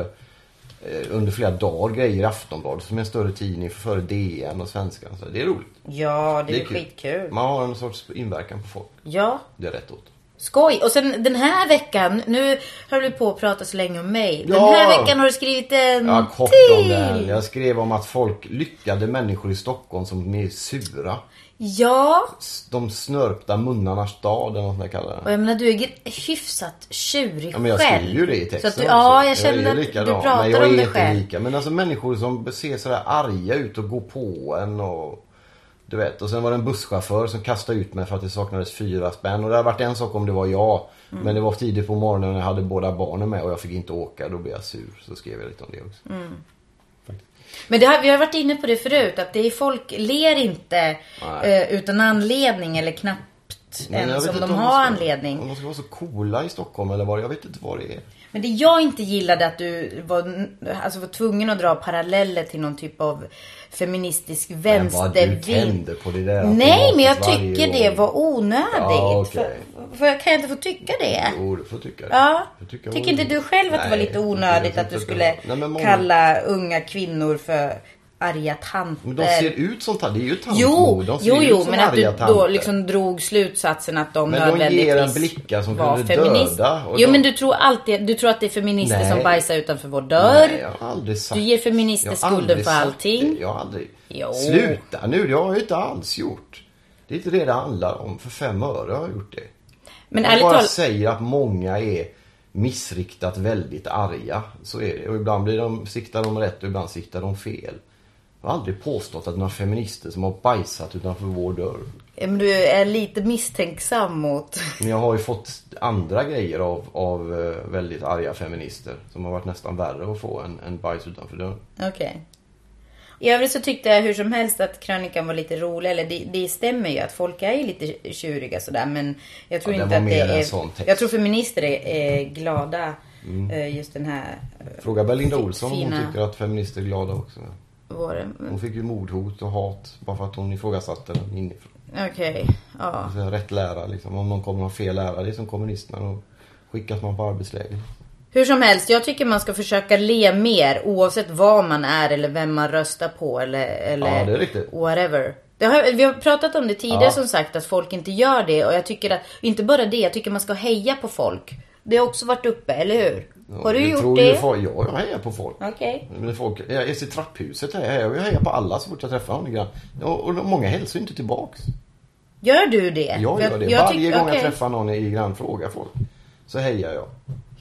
Speaker 1: eh, under flera dagar grejer i Aftonbladet som är en större tidning, före DN och Svenskan. Så det är roligt.
Speaker 2: Ja, det, är skitkul.
Speaker 1: Man har en sorts inverkan på folk.
Speaker 2: Ja,
Speaker 1: Det är rätt åt.
Speaker 2: skoj. Och sen den här veckan, nu har du på att prata så länge om mig. Den
Speaker 1: Ja.
Speaker 2: här veckan har du skrivit en
Speaker 1: Ja, kort om
Speaker 2: Mm. till.
Speaker 1: det här. Jag skrev om att folk, lyckade människor i Stockholm som är sura.
Speaker 2: Ja,
Speaker 1: S- De snörpta munnarnas stad eller vad man kallar
Speaker 2: och
Speaker 1: det.
Speaker 2: jag menar du är gr- hyfsat tjurig
Speaker 1: Ja, men jag
Speaker 2: själv.
Speaker 1: skriver ju det i texten
Speaker 2: så att du,
Speaker 1: också.
Speaker 2: Ja, jag
Speaker 1: är
Speaker 2: känner
Speaker 1: ju
Speaker 2: att du
Speaker 1: likadan,
Speaker 2: pratar
Speaker 1: Men jag
Speaker 2: om
Speaker 1: är
Speaker 2: det
Speaker 1: inte
Speaker 2: själv.
Speaker 1: lika. Men alltså människor som ser sådär arga ut och går på en och... Du vet. Och sen var det en busschaufför som kastade ut mig för att det saknades fyra spänn. Och det hade varit en sak om det var jag.
Speaker 2: Mm.
Speaker 1: Men det var tidigt på morgonen när jag hade båda barnen med och jag fick inte åka. Då blev jag sur. Så skrev jag lite om det också.
Speaker 2: Mm, Men det har, vi har varit inne på det förut, att det är folk ler inte
Speaker 1: Nej.
Speaker 2: eh, utan anledning eller knappt
Speaker 1: Men jag
Speaker 2: ens
Speaker 1: vet
Speaker 2: om
Speaker 1: inte
Speaker 2: de
Speaker 1: om
Speaker 2: har
Speaker 1: ska-
Speaker 2: anledning.
Speaker 1: Om de ska vara så coola i Stockholm eller vad Jag vet inte vad det är.
Speaker 2: Men det jag inte gillade att du var, alltså var tvungen att dra paralleller till någon typ av feministisk
Speaker 1: Men vad du
Speaker 2: vänstervind.
Speaker 1: tänder på det där.
Speaker 2: Nej, men jag
Speaker 1: automatiskt
Speaker 2: tycker
Speaker 1: varje
Speaker 2: det
Speaker 1: år.
Speaker 2: var onödigt.
Speaker 1: Ja, okej.
Speaker 2: för, för kan jag inte få tycka det?
Speaker 1: Jo, du får tycka det.
Speaker 2: Ja.
Speaker 1: Jag jag
Speaker 2: Tycker
Speaker 1: var-
Speaker 2: inte du själv att det var
Speaker 1: Nej,
Speaker 2: lite
Speaker 1: jag tycker
Speaker 2: onödigt
Speaker 1: inte
Speaker 2: att du
Speaker 1: det
Speaker 2: skulle
Speaker 1: var- Nej, men många-
Speaker 2: kalla unga kvinnor för arga tanter?
Speaker 1: Men de ser ut som tanter. Det är ju tantmord.
Speaker 2: Jo,
Speaker 1: de ser
Speaker 2: jo,
Speaker 1: ut
Speaker 2: jo
Speaker 1: som
Speaker 2: men att du
Speaker 1: arga
Speaker 2: då
Speaker 1: tanter.
Speaker 2: liksom drog slutsatsen att de
Speaker 1: Men de ger en
Speaker 2: nödvändigtvis
Speaker 1: blickar som
Speaker 2: var
Speaker 1: kunde
Speaker 2: feminist.
Speaker 1: döda. och
Speaker 2: Jo
Speaker 1: de-
Speaker 2: men du tror alltid, du tror att det är feminister
Speaker 1: Nej.
Speaker 2: som bajsar utanför vår dörr.
Speaker 1: Nej, jag har aldrig sagt
Speaker 2: Du ger feminister
Speaker 1: jag har aldrig
Speaker 2: skulden för
Speaker 1: sagt
Speaker 2: allting.
Speaker 1: Det. Jag har aldrig...
Speaker 2: Jo.
Speaker 1: Sluta nu, det har jag ju inte alls gjort. Det är inte det det handlar om. För fem öre har jag gjort det.
Speaker 2: Men
Speaker 1: jag
Speaker 2: ärligt
Speaker 1: bara
Speaker 2: talat,
Speaker 1: säger att många är missriktat väldigt arga. Så är det. Och ibland blir de, siktar de rätt och ibland siktar de fel. Jag har aldrig påstått att några feminister som har bajsat utanför vår dörr.
Speaker 2: men du är lite misstänksam mot...
Speaker 1: Men jag har ju fått andra grejer av, av eh, väldigt arga feminister. Som har varit nästan värre att få än, än bajs utanför dörren.
Speaker 2: Okej. I övrigt så tyckte jag hur som helst att krönikan var lite rolig. Eller det, det stämmer ju att folk är ju lite tjuriga sådär. Men jag tror
Speaker 1: Ja, den
Speaker 2: inte
Speaker 1: var
Speaker 2: att det
Speaker 1: mer en
Speaker 2: är...
Speaker 1: sån text. Mm.
Speaker 2: Jag tror feminister är, är glada. eh, Just den här
Speaker 1: Fråga Belinda
Speaker 2: Fi-
Speaker 1: Olsson om hon
Speaker 2: fina.
Speaker 1: tycker att feminister är glada också.
Speaker 2: våren.
Speaker 1: Hon fick ju mordhot och hat bara för att hon ifrågasatte den inifrån.
Speaker 2: Okej, ja.
Speaker 1: Alltså, rätt lära liksom. Om någon kommer ha fel lärare, det är som kommunisterna. Då skickas man på arbetsläger.
Speaker 2: Hur som helst, jag tycker man ska försöka le mer oavsett vad man är eller vem man röstar på eller, eller
Speaker 1: Ja, det är riktigt.
Speaker 2: whatever. Det har, vi har pratat om det tidigare
Speaker 1: Ja.
Speaker 2: som sagt att folk inte gör det och jag tycker att, inte bara det, jag tycker man ska heja på folk. Det har också varit uppe, eller hur? har du
Speaker 1: det
Speaker 2: gjort
Speaker 1: tror
Speaker 2: det?
Speaker 1: Ju folk, ja, jag hejar på folk.
Speaker 2: Okej.
Speaker 1: Men folk jag är i trapphuset, jag hejar, jag hejar på alla så fort jag träffar någon. grann. Och, och många hälsar ju inte tillbaks.
Speaker 2: Gör du det?
Speaker 1: Jag
Speaker 2: För
Speaker 1: gör det.
Speaker 2: jag
Speaker 1: Varje
Speaker 2: tyck-
Speaker 1: gång
Speaker 2: okej.
Speaker 1: jag träffar någon i grannfråga folk så hejar jag.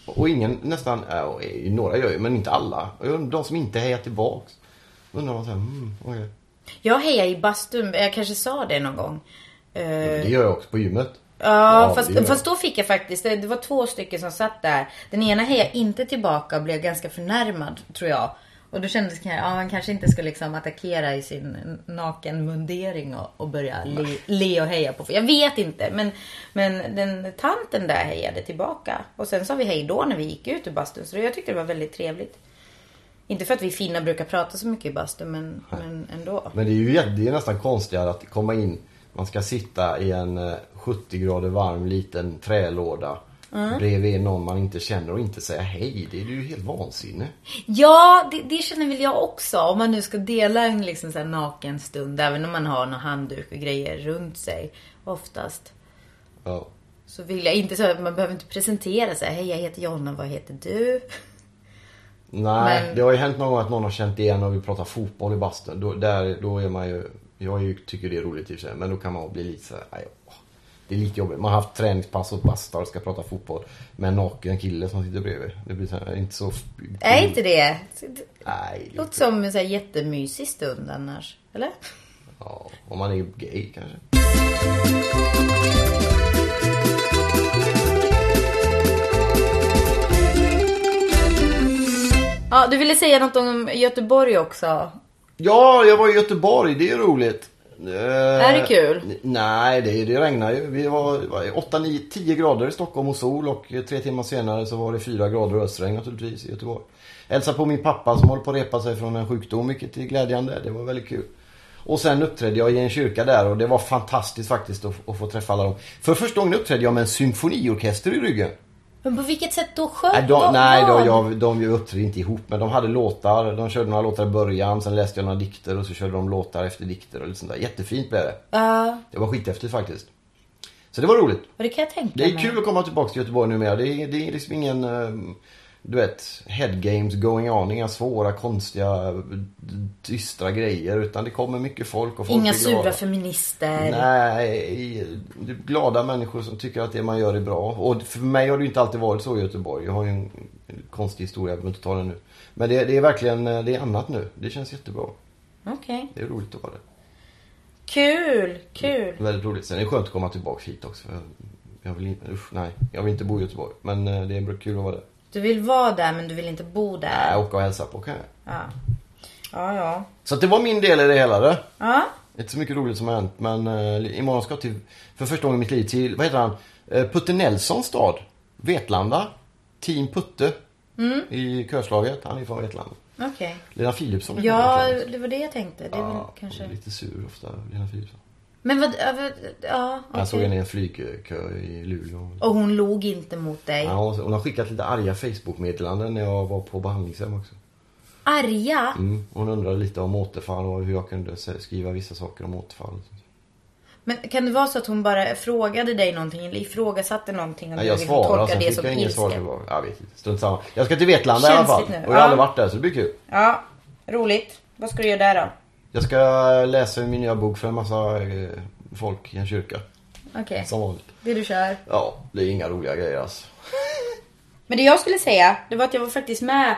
Speaker 1: Och ingen, nästan, ja, och, eh, några gör ju, men inte alla. Och jag- De som inte hejar tillbaks. Då undrar man såhär, mm, okej.
Speaker 2: Jag hejar i bastun, jag kanske sa det någon gång. Eh,
Speaker 1: Det gör jag också på gymmet.
Speaker 2: Ja,
Speaker 1: det
Speaker 2: fast,
Speaker 1: gör jag.
Speaker 2: fast då fick jag faktiskt, det det var två stycken som satt där. Den ena hejade inte tillbaka och blev ganska förnärmad, tror jag. Och då kändes det kanske, ja man kanske inte skulle liksom attackera i sin nakenmundering och, och börja le, le och heja på. Jag vet inte men, men den tanten där hejade tillbaka. Och sen sa vi hej då när vi gick ut ur bastun så jag tyckte det var väldigt trevligt. Inte för att vi finnar brukar prata så mycket i bastun men, men ändå.
Speaker 1: Men det är ju jä- det är nästan konstigare att komma in. Man ska sitta i en eh, 70 grader varm liten trälåda.
Speaker 2: Mm.
Speaker 1: Bredvid någon man inte känner och inte säga hej. Det är ju helt vansinne.
Speaker 2: Ja, det, det känner väl jag också. Om man nu ska dela en liksom så här naken stund, även om man har någon handduk och grejer runt sig oftast.
Speaker 1: Ja.
Speaker 2: Så vill jag inte så här, man behöver inte presentera sig. Hej, jag heter Jonna, vad heter du? (laughs)
Speaker 1: Nej,
Speaker 2: Men-
Speaker 1: det har ju hänt någon gång att någon har känt igen och vi pratar fotboll i bastun. Då, där, då är man ju... Jag är ju, tycker det är roligt i och för sig, men då kan man bli lite så här, aj, åh. Det är lite jobbigt. Man har haft träningspass och bastar och ska prata fotboll med en naken kille som sitter bredvid. Det blir så här, inte så... Mm.
Speaker 2: Är inte det?
Speaker 1: Nej. lite-
Speaker 2: Låter som en så här jättemysig stund annars. Eller?
Speaker 1: Ja, om man är gay kanske.
Speaker 2: Ja, du ville säga något om Göteborg också.
Speaker 1: Ja, jag var i Göteborg. Det är roligt. Det
Speaker 2: är det kul?
Speaker 1: Nej, det, det regnar ju. Vi var, var 8, 9, 10 grader i Stockholm och sol och eh, tre timmar senare så var det 4 grader och ösregn naturligtvis i Göteborg. Hälsa på min pappa som håller på att repa sig från en sjukdom, vilket är glädjande. Det var väldigt kul. Och sen uppträdde jag i en kyrka där och det var fantastiskt faktiskt att, att få träffa alla dem. För första gången uppträdde jag med en symfoniorkester i ryggen.
Speaker 2: Men på vilket sätt då? Sjöng
Speaker 1: Nej, Äh, de,
Speaker 2: Äh, vad-
Speaker 1: nej då,
Speaker 2: vad?
Speaker 1: jag, de uppträdde inte ihop men de hade låtar. De körde några låtar i början, sen läste jag några dikter och så körde de låtar efter dikter och lite sånt där. Jättefint blev det.
Speaker 2: Ja,
Speaker 1: Det var skithäftigt faktiskt. Så det var roligt.
Speaker 2: och det kan jag tänka
Speaker 1: Det är
Speaker 2: mig.
Speaker 1: kul att komma tillbaka till Göteborg numera. Det är, det är liksom ingen, eh, du vet, headgames going on. Inga svåra, konstiga, dystra grejer. Utan det kommer mycket folk och folk
Speaker 2: Inga
Speaker 1: är glada.
Speaker 2: sura feminister.
Speaker 1: Nej, det är glada människor som tycker att det man gör är bra. Och för mig har det ju inte alltid varit så i Göteborg. Jag har ju en konstig historia, jag behöver inte ta den nu. Men det, det är verkligen, eh, det är annat nu. Det känns jättebra.
Speaker 2: Okej.
Speaker 1: Det är roligt att vara det.
Speaker 2: Kul, kul.
Speaker 1: Väldigt roligt. Sen är det skönt att komma tillbaka hit också. för Jag, jag vill inte, usch, nej. Jag vill inte bo i Göteborg. Men eh, det är kul att vara där.
Speaker 2: Du vill vara där men du vill inte bo där.
Speaker 1: Nej, åka och hälsa på kan jag.
Speaker 2: Ja. Ja, ja.
Speaker 1: Så att det var min del i det hela. Det.
Speaker 2: Ja.
Speaker 1: Inte så mycket roligt som har hänt. Men eh, imorgon ska jag till, för första gången i mitt liv till, vad heter han? Eh, Putte Nelsons stad. Vetlanda. Team Putte.
Speaker 2: Mm.
Speaker 1: I körslaget. Han är från Vetlanda.
Speaker 2: Okej.
Speaker 1: Lena Philipsson är
Speaker 2: Ja,
Speaker 1: från Vetlanda.
Speaker 2: det var det jag tänkte. Det är väl
Speaker 1: Ja, hon är
Speaker 2: kanske...
Speaker 1: lite sur ofta, Lena Philipsson.
Speaker 2: Men vad... ja, vad- Ja,
Speaker 1: Jag såg
Speaker 2: okej.
Speaker 1: henne i en flygkö i Luleå.
Speaker 2: Och hon log inte mot dig.
Speaker 1: Ja, hon- hon har skickat lite arga Facebook-meddelanden när jag var på behandlingshem också.
Speaker 2: Arga?
Speaker 1: Mm. Hon undrade lite om återfall och hur jag kunde se- skriva vissa saker om återfall.
Speaker 2: Men kan det vara så att hon bara frågade dig någonting eller ifrågasatte någonting? Och
Speaker 1: Nej,
Speaker 2: du
Speaker 1: jag
Speaker 2: liksom
Speaker 1: svarade,
Speaker 2: tolkar
Speaker 1: sen
Speaker 2: det
Speaker 1: fick
Speaker 2: som
Speaker 1: jag inget svar
Speaker 2: ilska?
Speaker 1: tillbaka. Jag vet inte, strunt samma. Jag ska till Vetlanda i alla fall.
Speaker 2: Känsligt
Speaker 1: Och
Speaker 2: nu.
Speaker 1: jag har aldrig
Speaker 2: Ja.
Speaker 1: varit där så det blir kul.
Speaker 2: Ja, roligt. Vad ska du göra där då?
Speaker 1: Jag ska läsa ur min nya bok för en massa eh, folk i en kyrka.
Speaker 2: Okej,
Speaker 1: Som vanligt.
Speaker 2: det du kör.
Speaker 1: Ja, det är inga roliga grejer alltså.
Speaker 2: Men det jag skulle säga, det var att jag var faktiskt med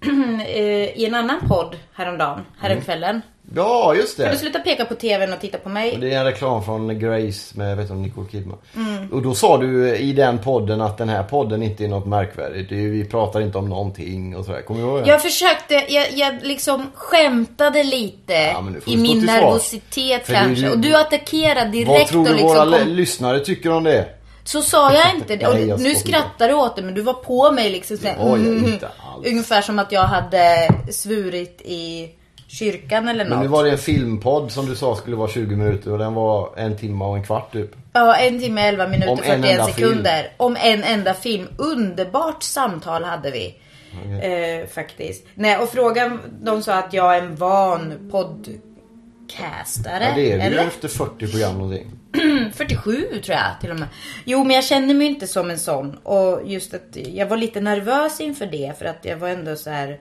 Speaker 2: (clears throat) eh, i en annan podd häromdagen,
Speaker 1: Mm.
Speaker 2: häromkvällen.
Speaker 1: Ja, just
Speaker 2: Kan du
Speaker 1: det.
Speaker 2: sluta peka på tvn och titta på mig?
Speaker 1: Det är en reklam från Grace med vet du, Nicole Kidman.
Speaker 2: Mm.
Speaker 1: Och då sa du i den podden att den här podden inte är något märkvärdigt. Det är, vi pratar inte om någonting och sådär. Kommer du ihåg det?
Speaker 2: Jag försökte, jag, jag liksom skämtade lite
Speaker 1: men nu får
Speaker 2: i
Speaker 1: du stå
Speaker 2: min
Speaker 1: till svars.
Speaker 2: nervositet
Speaker 1: För det är
Speaker 2: kanske.
Speaker 1: ju-
Speaker 2: Och du attackerade
Speaker 1: Vad
Speaker 2: direkt
Speaker 1: tror
Speaker 2: och
Speaker 1: du
Speaker 2: liksom
Speaker 1: våra lä-
Speaker 2: kom,
Speaker 1: lyssnare tycker om det?
Speaker 2: Så sa
Speaker 1: (laughs)
Speaker 2: jag inte det. Och
Speaker 1: Nej, jag
Speaker 2: nu
Speaker 1: skojar.
Speaker 2: skrattar du åt det men du var på mig liksom så här,
Speaker 1: Det var jag inte alls.
Speaker 2: Ungefär som att jag hade svurit i kyrkan eller
Speaker 1: Men
Speaker 2: något.
Speaker 1: nu var det en filmpodd som du sa skulle vara 20 minuter och den var en timme och en kvart typ.
Speaker 2: Ja, en timme, 11 minuter,
Speaker 1: Om en
Speaker 2: 41
Speaker 1: enda
Speaker 2: sekunder. Om en enda film. Underbart samtal hade vi.
Speaker 1: Mm.
Speaker 2: Eh, faktiskt. Nej, och frågan, de sa att jag är en van podcastare.
Speaker 1: Ja, det är vi ju
Speaker 2: eller? (clears throat)
Speaker 1: efter 40 program någonting.
Speaker 2: 47 tror jag till och med. Jo, men jag känner mig inte som en sån. Och just att jag var lite nervös inför det för att jag var ändå så här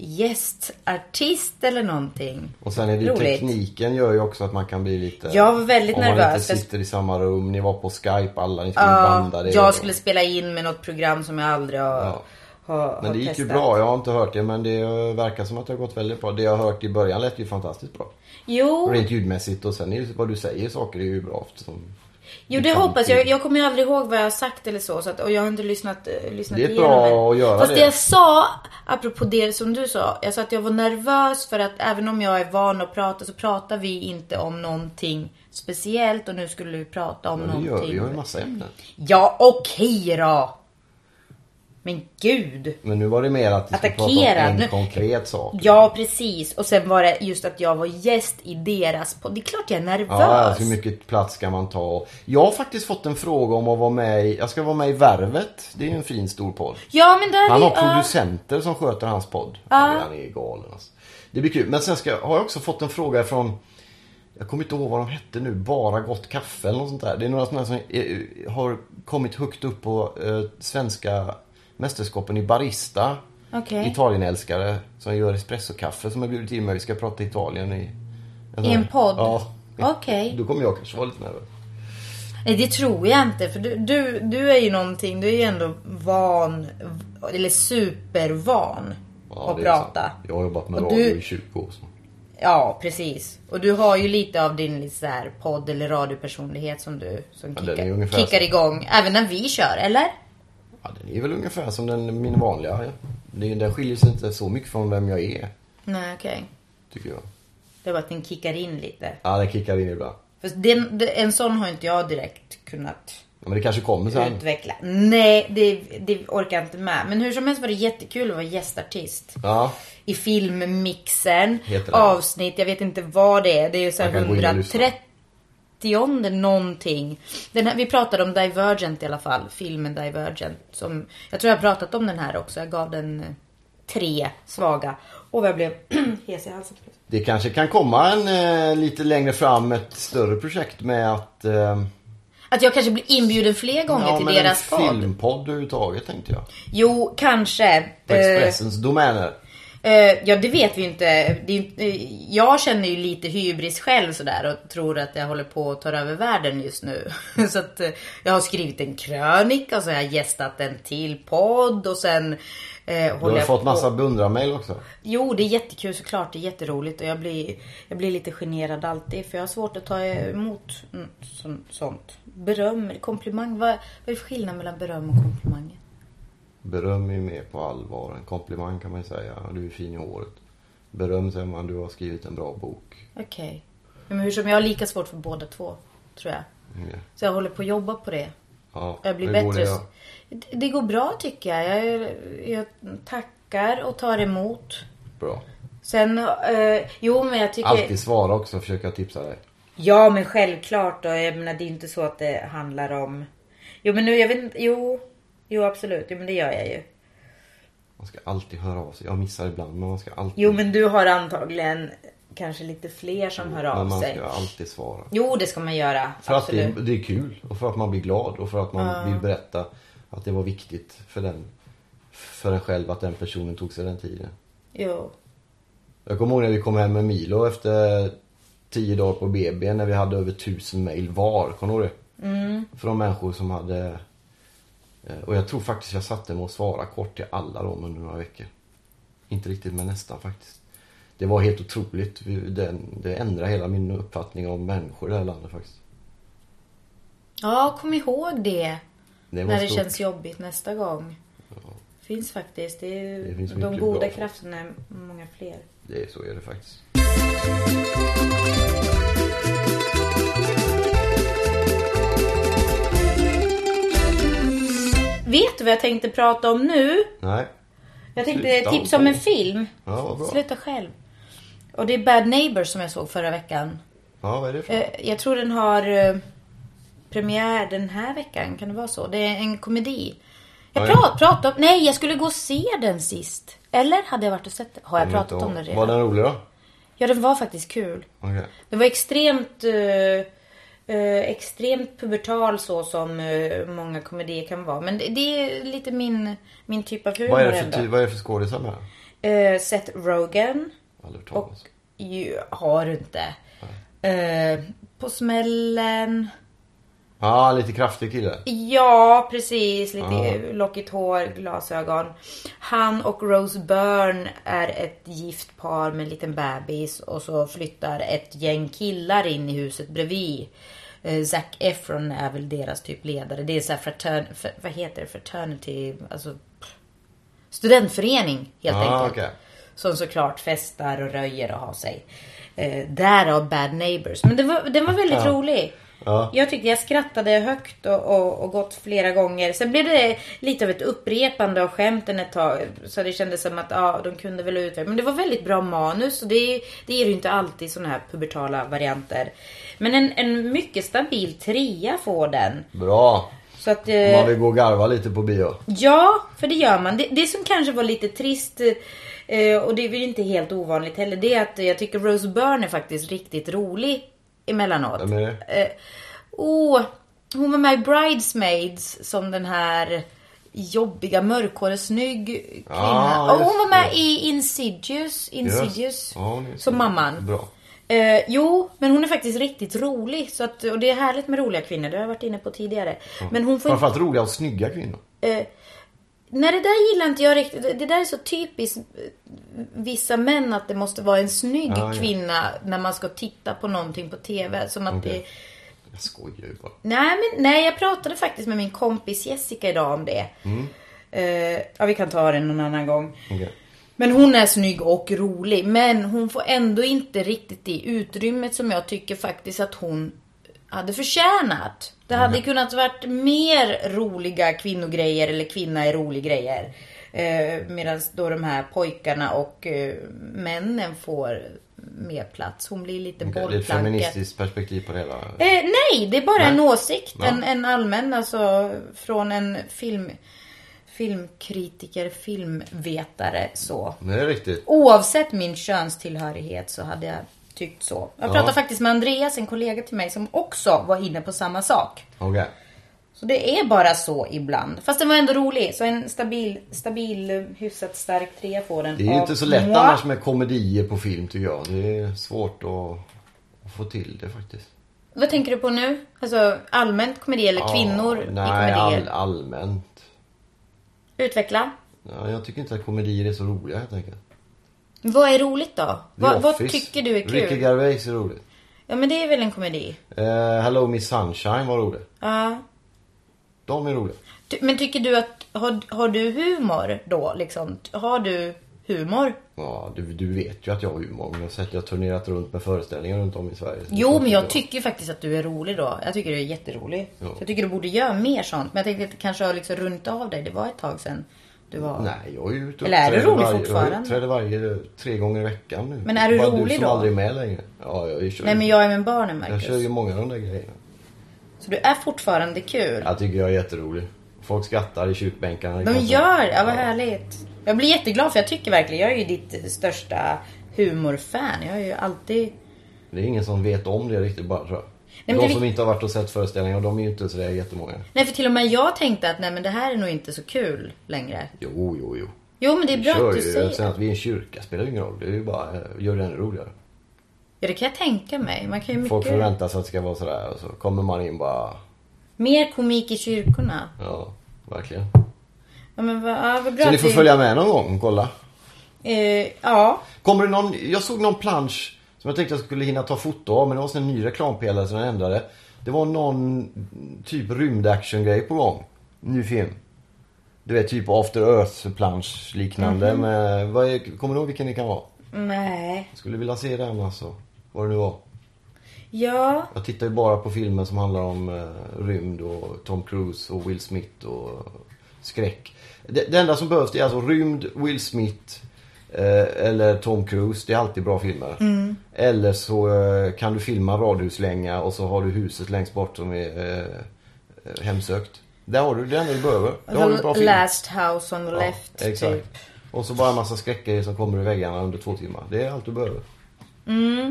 Speaker 2: gästartist eller någonting.
Speaker 1: Och sen är det ju
Speaker 2: Roligt.
Speaker 1: tekniken gör ju också att man kan bli lite...
Speaker 2: Jag var väldigt
Speaker 1: om Om man
Speaker 2: nervös,
Speaker 1: inte
Speaker 2: för-
Speaker 1: sitter i samma rum, ni var på skype alla, ni skulle
Speaker 2: Ja,
Speaker 1: banda det.
Speaker 2: jag skulle spela in med något program som jag aldrig har,
Speaker 1: Ja.
Speaker 2: har,
Speaker 1: Men
Speaker 2: har
Speaker 1: det gick ju
Speaker 2: testat.
Speaker 1: bra, jag har inte hört det men det eh, verkar som att det har gått väldigt bra. Det jag har hört i början lät ju fantastiskt bra.
Speaker 2: Jo,
Speaker 1: Rent ljudmässigt och sen är ju vad du säger saker är ju bra eftersom
Speaker 2: Jo,
Speaker 1: liksom-
Speaker 2: det hoppas jag. Jag kommer ju aldrig ihåg vad jag har sagt eller så. så att, och jag har inte lyssnat, eh, lyssnat
Speaker 1: Det är
Speaker 2: igenom
Speaker 1: bra att göra
Speaker 2: Fast
Speaker 1: det.
Speaker 2: det jag sa, apropå det som du sa. Jag sa att jag var nervös för att även om jag är van att prata så pratar vi inte om någonting speciellt. Och nu skulle vi prata om
Speaker 1: Men det
Speaker 2: någonting.
Speaker 1: gör vi. Vi har ju massa ämnen.
Speaker 2: Ja, okej då! Men gud!
Speaker 1: Men nu var det mer att vi ska prata om
Speaker 2: Attackera.
Speaker 1: en
Speaker 2: Nu-
Speaker 1: konkret sak.
Speaker 2: Ja, precis. Och sen var det just att jag var gäst i deras podd. Det är klart jag är nervös.
Speaker 1: Ja, alltså hur mycket plats ska man ta? Jag har faktiskt fått en fråga om att vara med i, jag ska vara med i Värvet. Det är ju en fin stor podd.
Speaker 2: Ja, men där
Speaker 1: Han
Speaker 2: är
Speaker 1: har
Speaker 2: ju- ja.
Speaker 1: producenter som sköter hans podd. Han är galen alltså. Det blir kul. Men sen ska, har jag också fått en fråga från jag kommer inte ihåg vad de hette nu, Bara Gott Kaffe eller något sånt där. Det är några sådana som eh, har kommit högt upp på eh, svenska mästerskapen i barista.
Speaker 2: Okej.
Speaker 1: Italienälskare som gör espressokaffe som har bjudit in mig. Vi ska prata Italien i...
Speaker 2: I en podd?
Speaker 1: Ja.
Speaker 2: Okej.
Speaker 1: Då kommer jag kanske vara lite nervös.
Speaker 2: Nej, det tror jag inte. För du, du, du är ju någonting, du är ju ändå van, eller supervan
Speaker 1: Ja,
Speaker 2: att
Speaker 1: det är sant.
Speaker 2: prata.
Speaker 1: Jag har jobbat med
Speaker 2: Och
Speaker 1: radio
Speaker 2: du-
Speaker 1: i 20 år. Så.
Speaker 2: Ja, precis. Och du har ju lite av din lite så här podd eller radiopersonlighet som du som
Speaker 1: den är
Speaker 2: kickar,
Speaker 1: ungefär
Speaker 2: kickar
Speaker 1: så.
Speaker 2: igång. Även när vi kör, eller?
Speaker 1: Ja, den är väl ungefär som den, min vanliga. Det- Den skiljer sig inte så mycket från vem jag är,
Speaker 2: Nej, okej.
Speaker 1: tycker jag.
Speaker 2: Det är bara att den kickar in lite.
Speaker 1: Ja, den kickar in ibland.
Speaker 2: För den, den- en sån har inte jag direkt kunnat
Speaker 1: Ja, men det kanske kommer sen.
Speaker 2: utveckla. Nej, det, det orkar jag inte med. Men hur som helst var det jättekul att vara gästartist.
Speaker 1: Ja,
Speaker 2: I filmmixen,
Speaker 1: Heter det?
Speaker 2: avsnitt, jag vet inte vad det är. Det är ju så här
Speaker 1: Man kan gå in och lyssna.
Speaker 2: 130 någonting. Den här, vi pratade om Divergent i alla fall, filmen Divergent. Som, jag tror jag har pratat om den här också, jag gav den eh, tre svaga. Och jag blev (clears throat) hes i halsen.
Speaker 1: det kanske kan komma en eh, lite längre fram ett större projekt med att... Eh,
Speaker 2: Att jag kanske blir inbjuden fler gånger
Speaker 1: ja,
Speaker 2: till
Speaker 1: men
Speaker 2: deras
Speaker 1: en
Speaker 2: podd. Eh,
Speaker 1: filmpodd överhuvudtaget tänkte jag.
Speaker 2: Jo, kanske.
Speaker 1: På Expressens domäner.
Speaker 2: Eh, eh, ja, det vet vi ju inte. Det är, ju inte- eh, jag känner ju lite hybris själv sådär och tror att jag håller på att ta över världen just nu. (laughs) så att eh, jag har skrivit en krönika och så har jag gästat en till podd och sen eh,
Speaker 1: Du
Speaker 2: håller
Speaker 1: har
Speaker 2: jag
Speaker 1: fått
Speaker 2: på.
Speaker 1: massa beundrarmail också.
Speaker 2: Jo, det är jättekul såklart. Det är jätteroligt och jag blir, jag blir lite generad alltid för jag har svårt att ta emot mm, sån- sånt. Beröm, komplimang. Vad, vad är skillnaden mellan beröm och komplimanger?
Speaker 1: Beröm är ju mer på allvar. En komplimang kan man ju säga. Ja, Du är fin i håret. Beröm säger man, du har skrivit en bra bok.
Speaker 2: Okej. Men hur som jag har lika svårt för båda två, tror jag.
Speaker 1: Ja.
Speaker 2: Så jag håller på att jobba på det.
Speaker 1: Ja,
Speaker 2: Jag blir
Speaker 1: hur går
Speaker 2: bättre.
Speaker 1: det då?
Speaker 2: Det, det går bra tycker jag. jag. är- Jag tackar och tar emot.
Speaker 1: Bra.
Speaker 2: Sen, eh, jo men jag tycker...
Speaker 1: Alltid svara också, försöka tipsa dig.
Speaker 2: Ja men självklart då. Jag menar det är inte så att det handlar om... Jo men nu, jag vet inte. Jo. Jo absolut. Jo men det gör jag ju.
Speaker 1: Man ska alltid höra av sig. Jag missar ibland, men man ska alltid...
Speaker 2: Jo men du har antagligen kanske lite fler som hör
Speaker 1: Mm, men
Speaker 2: av
Speaker 1: man
Speaker 2: sig.
Speaker 1: ska alltid svara.
Speaker 2: Jo det ska man göra.
Speaker 1: För att det,
Speaker 2: absolut.
Speaker 1: är- det är kul och för att man blir glad och för att man vill berätta att det var viktigt för den för en själv att den personen tog sig den tiden.
Speaker 2: Jo.
Speaker 1: Jag kommer ihåg när vi kom hem med Milo efter tio dagar på BB när vi hade över tusen mail var. Kommer du ihåg det?
Speaker 2: Mm.
Speaker 1: Från människor som hade... eh, Och jag tror faktiskt jag satte mig och svara kort till alla dem under några veckor. Inte riktigt men nästan faktiskt. Det var helt otroligt. Vi- den- Det ändrade hela min uppfattning om människor i det här landet faktiskt.
Speaker 2: Ja, kom ihåg det.
Speaker 1: Det var
Speaker 2: när det
Speaker 1: stort.
Speaker 2: känns jobbigt nästa gång. Finns faktiskt. Det är,
Speaker 1: Det finns
Speaker 2: de
Speaker 1: mycket
Speaker 2: goda
Speaker 1: bra.
Speaker 2: krafterna är många fler.
Speaker 1: Det, är- så är det faktiskt.
Speaker 2: Vet du vad jag tänkte prata om nu?
Speaker 1: Nej.
Speaker 2: Jag tänkte
Speaker 1: Sluta
Speaker 2: tipsa om
Speaker 1: hålla
Speaker 2: en
Speaker 1: på.
Speaker 2: film.
Speaker 1: Ja, vad bra.
Speaker 2: Sluta själv. Och det är Bad Neighbors som jag såg förra veckan.
Speaker 1: Ja, vad är det för
Speaker 2: Eh, Jag tror den har eh, premiär den här veckan. Kan det vara så? Det är en komedi. Jag
Speaker 1: Ja, ja.
Speaker 2: prat, pratade om... Nej, jag skulle gå och se den sist. Eller hade jag varit och sett den? Har jag
Speaker 1: Jag vet
Speaker 2: pratat
Speaker 1: inte
Speaker 2: om den
Speaker 1: Var
Speaker 2: redan?
Speaker 1: den rolig då?
Speaker 2: Ja, den var faktiskt kul.
Speaker 1: Okej.
Speaker 2: Det var extremt eh, eh, extremt pubertal så som eh, många komedier kan vara. Men det, det är lite min, min typ av humor
Speaker 1: Vad är det för,
Speaker 2: ändå.
Speaker 1: ty- vad är det för skådisar med?
Speaker 2: Eh, Seth Rogen.
Speaker 1: Aldrig hört
Speaker 2: Och
Speaker 1: talas om.
Speaker 2: ju, har du inte. Eh, på smällen.
Speaker 1: Ja, lite kraftig kille.
Speaker 2: Ja, precis. Lite
Speaker 1: Ja.
Speaker 2: lockigt hår, glasögon. Han och Rose Byrne är ett gift par med en liten bebis och så flyttar ett gäng killar in i huset bredvid. Eh, Zac Efron är väl deras typ ledare. Det är så här fratern... För, vad heter det? Fraternity... Alltså... Studentförening helt
Speaker 1: Ah,
Speaker 2: enkelt.
Speaker 1: okej.
Speaker 2: Som såklart festar och röjer och har sig. Eh, därav Bad Neighbors. Men den var, den var väldigt rolig.
Speaker 1: Ja.
Speaker 2: Jag tyckte jag skrattade högt och, och, och gått flera gånger. Sen blev det lite av ett upprepande av skämten ett tag. Så det kändes som att ja, de kunde väl utveckla. Men det var väldigt bra manus och det, det är ju inte alltid sådana här pubertala varianter. Men en, en mycket stabil trea får den.
Speaker 1: Bra.
Speaker 2: Så att, eh,
Speaker 1: Man vill gå och garva lite på bio.
Speaker 2: Ja, för det gör man. Det, det som kanske var lite trist eh, och det är väl inte helt ovanligt heller. Det är att jag tycker Rose Byrne är faktiskt riktigt rolig emellanåt.
Speaker 1: Vem är det?
Speaker 2: Eh, oh, hon var med i Bridesmaids som den här jobbiga mörkhårig snygg kvinna.
Speaker 1: Ja,
Speaker 2: och hon var med
Speaker 1: Ah, just det.
Speaker 2: i Insidious, Insidious
Speaker 1: Ja, hon är
Speaker 2: som mamman.
Speaker 1: Bra.
Speaker 2: Eh, jo, men hon är faktiskt riktigt rolig. Så att, och det är härligt med roliga kvinnor, det har jag varit inne på tidigare. Men hon får inte
Speaker 1: Framförallt roliga och snygga kvinnor.
Speaker 2: Nej det där gillar inte jag riktigt. Det där är så typiskt eh, vissa män att det måste vara en snygg
Speaker 1: Ah, Ja, ja.
Speaker 2: kvinna när man ska titta på någonting på TV. Som att det...
Speaker 1: Okej. Jag skojar ju bara.
Speaker 2: Nej men nej, jag pratade faktiskt med min kompis Jessica idag om det.
Speaker 1: Mm.
Speaker 2: Eh, ja vi kan ta det någon annan gång.
Speaker 1: Okej.
Speaker 2: Men hon är snygg och rolig. Men hon får ändå inte riktigt det utrymmet som jag tycker faktiskt att hon hade förtjänat. Det
Speaker 1: Mm.
Speaker 2: hade kunnat varit mer roliga kvinnogrejer eller kvinna är rolig grejer. Eh, Medan då de här pojkarna och eh, männen får mer plats. Hon blir lite
Speaker 1: Okej, Det är ett
Speaker 2: bollplanket.
Speaker 1: feministiskt perspektiv på det hela.
Speaker 2: Eh, nej, det är bara en åsikt.
Speaker 1: Ja.
Speaker 2: En, en allmän, alltså från en film, filmkritiker, filmvetare så.
Speaker 1: Men det är riktigt.
Speaker 2: Oavsett min könstillhörighet så hade jag tyckt så. Jag
Speaker 1: Ja.
Speaker 2: pratade faktiskt med Andreas, en kollega till mig, som också var inne på samma sak.
Speaker 1: Okej.
Speaker 2: Så det är bara så ibland. Fast den var ändå rolig. Så en stabil, stabil eh, hyfsat stark trea får den.
Speaker 1: Det är ju
Speaker 2: av
Speaker 1: inte så lätt
Speaker 2: moi.
Speaker 1: annars med komedier på film tycker jag. Det är svårt att, att få till det faktiskt.
Speaker 2: Vad tänker du på nu? Alltså allmänt komedi eller kvinnor
Speaker 1: Ja,
Speaker 2: i
Speaker 1: nej, all,
Speaker 2: komedier?
Speaker 1: allmänt.
Speaker 2: Utveckla.
Speaker 1: Ja, jag tycker inte att komedier är så roliga helt enkelt.
Speaker 2: Vad är roligt då?
Speaker 1: The
Speaker 2: Vad, vad
Speaker 1: Office.
Speaker 2: tycker du är
Speaker 1: Ricky
Speaker 2: kul?
Speaker 1: Gervais är roligt.
Speaker 2: Ja men det är väl en komedi?
Speaker 1: Eh, Hello Miss Sunshine var roligt.
Speaker 2: Ja.
Speaker 1: De är roliga.
Speaker 2: Ty- Men tycker du att, har, har du humor då liksom? Har du humor?
Speaker 1: Ja, du, du vet ju att jag har humor. men Jag har sett jag har turnerat runt med föreställningar runt om i Sverige. Så
Speaker 2: Jo men jag
Speaker 1: det-
Speaker 2: tycker ju faktiskt att du är rolig då. Jag tycker du är jätterolig.
Speaker 1: Ja.
Speaker 2: Så jag tycker du borde göra mer sånt. Men jag tänkte att det kanske har liksom runt av dig. Det var ett tag sedan du var...
Speaker 1: Nej, jag är ju ute och
Speaker 2: Eller är du
Speaker 1: uppträder
Speaker 2: rolig
Speaker 1: varje-
Speaker 2: fortfarande?
Speaker 1: Jag uppträder varje, tre gånger i veckan nu.
Speaker 2: Men är du
Speaker 1: Bara du
Speaker 2: rolig
Speaker 1: som
Speaker 2: då?
Speaker 1: aldrig är med längre. Ja, jag, kör,
Speaker 2: Nej men jag är med barnen
Speaker 1: jag
Speaker 2: Marcus.
Speaker 1: kör ju många av de där grejerna.
Speaker 2: Så du är fortfarande kul.
Speaker 1: Jag tycker jag är jätterolig. Folk skrattar i kyrkbänkarna.
Speaker 2: De gör det. Ja vad härligt. Jag blir jätteglad för jag tycker verkligen, jag är ju ditt största humorfan. Jag är ju alltid
Speaker 1: Det är ingen som vet om det riktigt bara tror jag.
Speaker 2: men
Speaker 1: de
Speaker 2: det-
Speaker 1: som inte har varit och sett föreställningar, de är ju inte sådär jättemånga.
Speaker 2: Nej för till och med jag tänkte att nej men det här är nog inte så kul längre.
Speaker 1: Jo, jo, jo.
Speaker 2: Jo men det är
Speaker 1: Vi
Speaker 2: bra
Speaker 1: kör
Speaker 2: att du
Speaker 1: ju. alltså.
Speaker 2: säger
Speaker 1: Sen
Speaker 2: det.
Speaker 1: att vi är en kyrka spelar ju ingen roll. Det är ju bara, eh, gör det ännu roligare.
Speaker 2: Ja det kan jag tänka mig. Man kan ju mycket...
Speaker 1: Folk förväntar sig att det ska vara sådär och så kommer man in bara,
Speaker 2: Mer komik i kyrkorna.
Speaker 1: ja, verkligen.
Speaker 2: Ja men vad, ja, vad bra
Speaker 1: Så ni
Speaker 2: att
Speaker 1: får
Speaker 2: du-
Speaker 1: följa med någon gång och kolla.
Speaker 2: Eh, ja.
Speaker 1: Kommer det någon, jag såg någon plansch som jag tänkte jag skulle hinna ta foto av men det var en ny reklampelare som jag ändrade. Det var någon typ rymdactiongrej på gång. Ny film. Du vet typ After Earth plansch liknande. Men vad är, kommer du ihåg vilken det kan vara?
Speaker 2: Nej.
Speaker 1: Jag skulle vilja se den alltså. Vad det nu var.
Speaker 2: Ja.
Speaker 1: Jag tittar ju bara på filmer som handlar om eh, rymd och Tom Cruise och Will Smith och skräck. Det, det enda som behövs det är alltså rymd, Will Smith eh, eller Tom Cruise. Det är alltid bra filmer.
Speaker 2: Mm.
Speaker 1: Eller så eh, kan du filma radhuslänga och så har du huset längst bort som är eh, eh, hemsökt. Där har du det enda du behöver. Där har du en bra
Speaker 2: The
Speaker 1: film.
Speaker 2: Alltså, last house on the
Speaker 1: Ja,
Speaker 2: left.
Speaker 1: exakt.
Speaker 2: Typ.
Speaker 1: Och så bara en massa skräckgrejer som kommer ur väggarna under två timmar. Det är allt du behöver.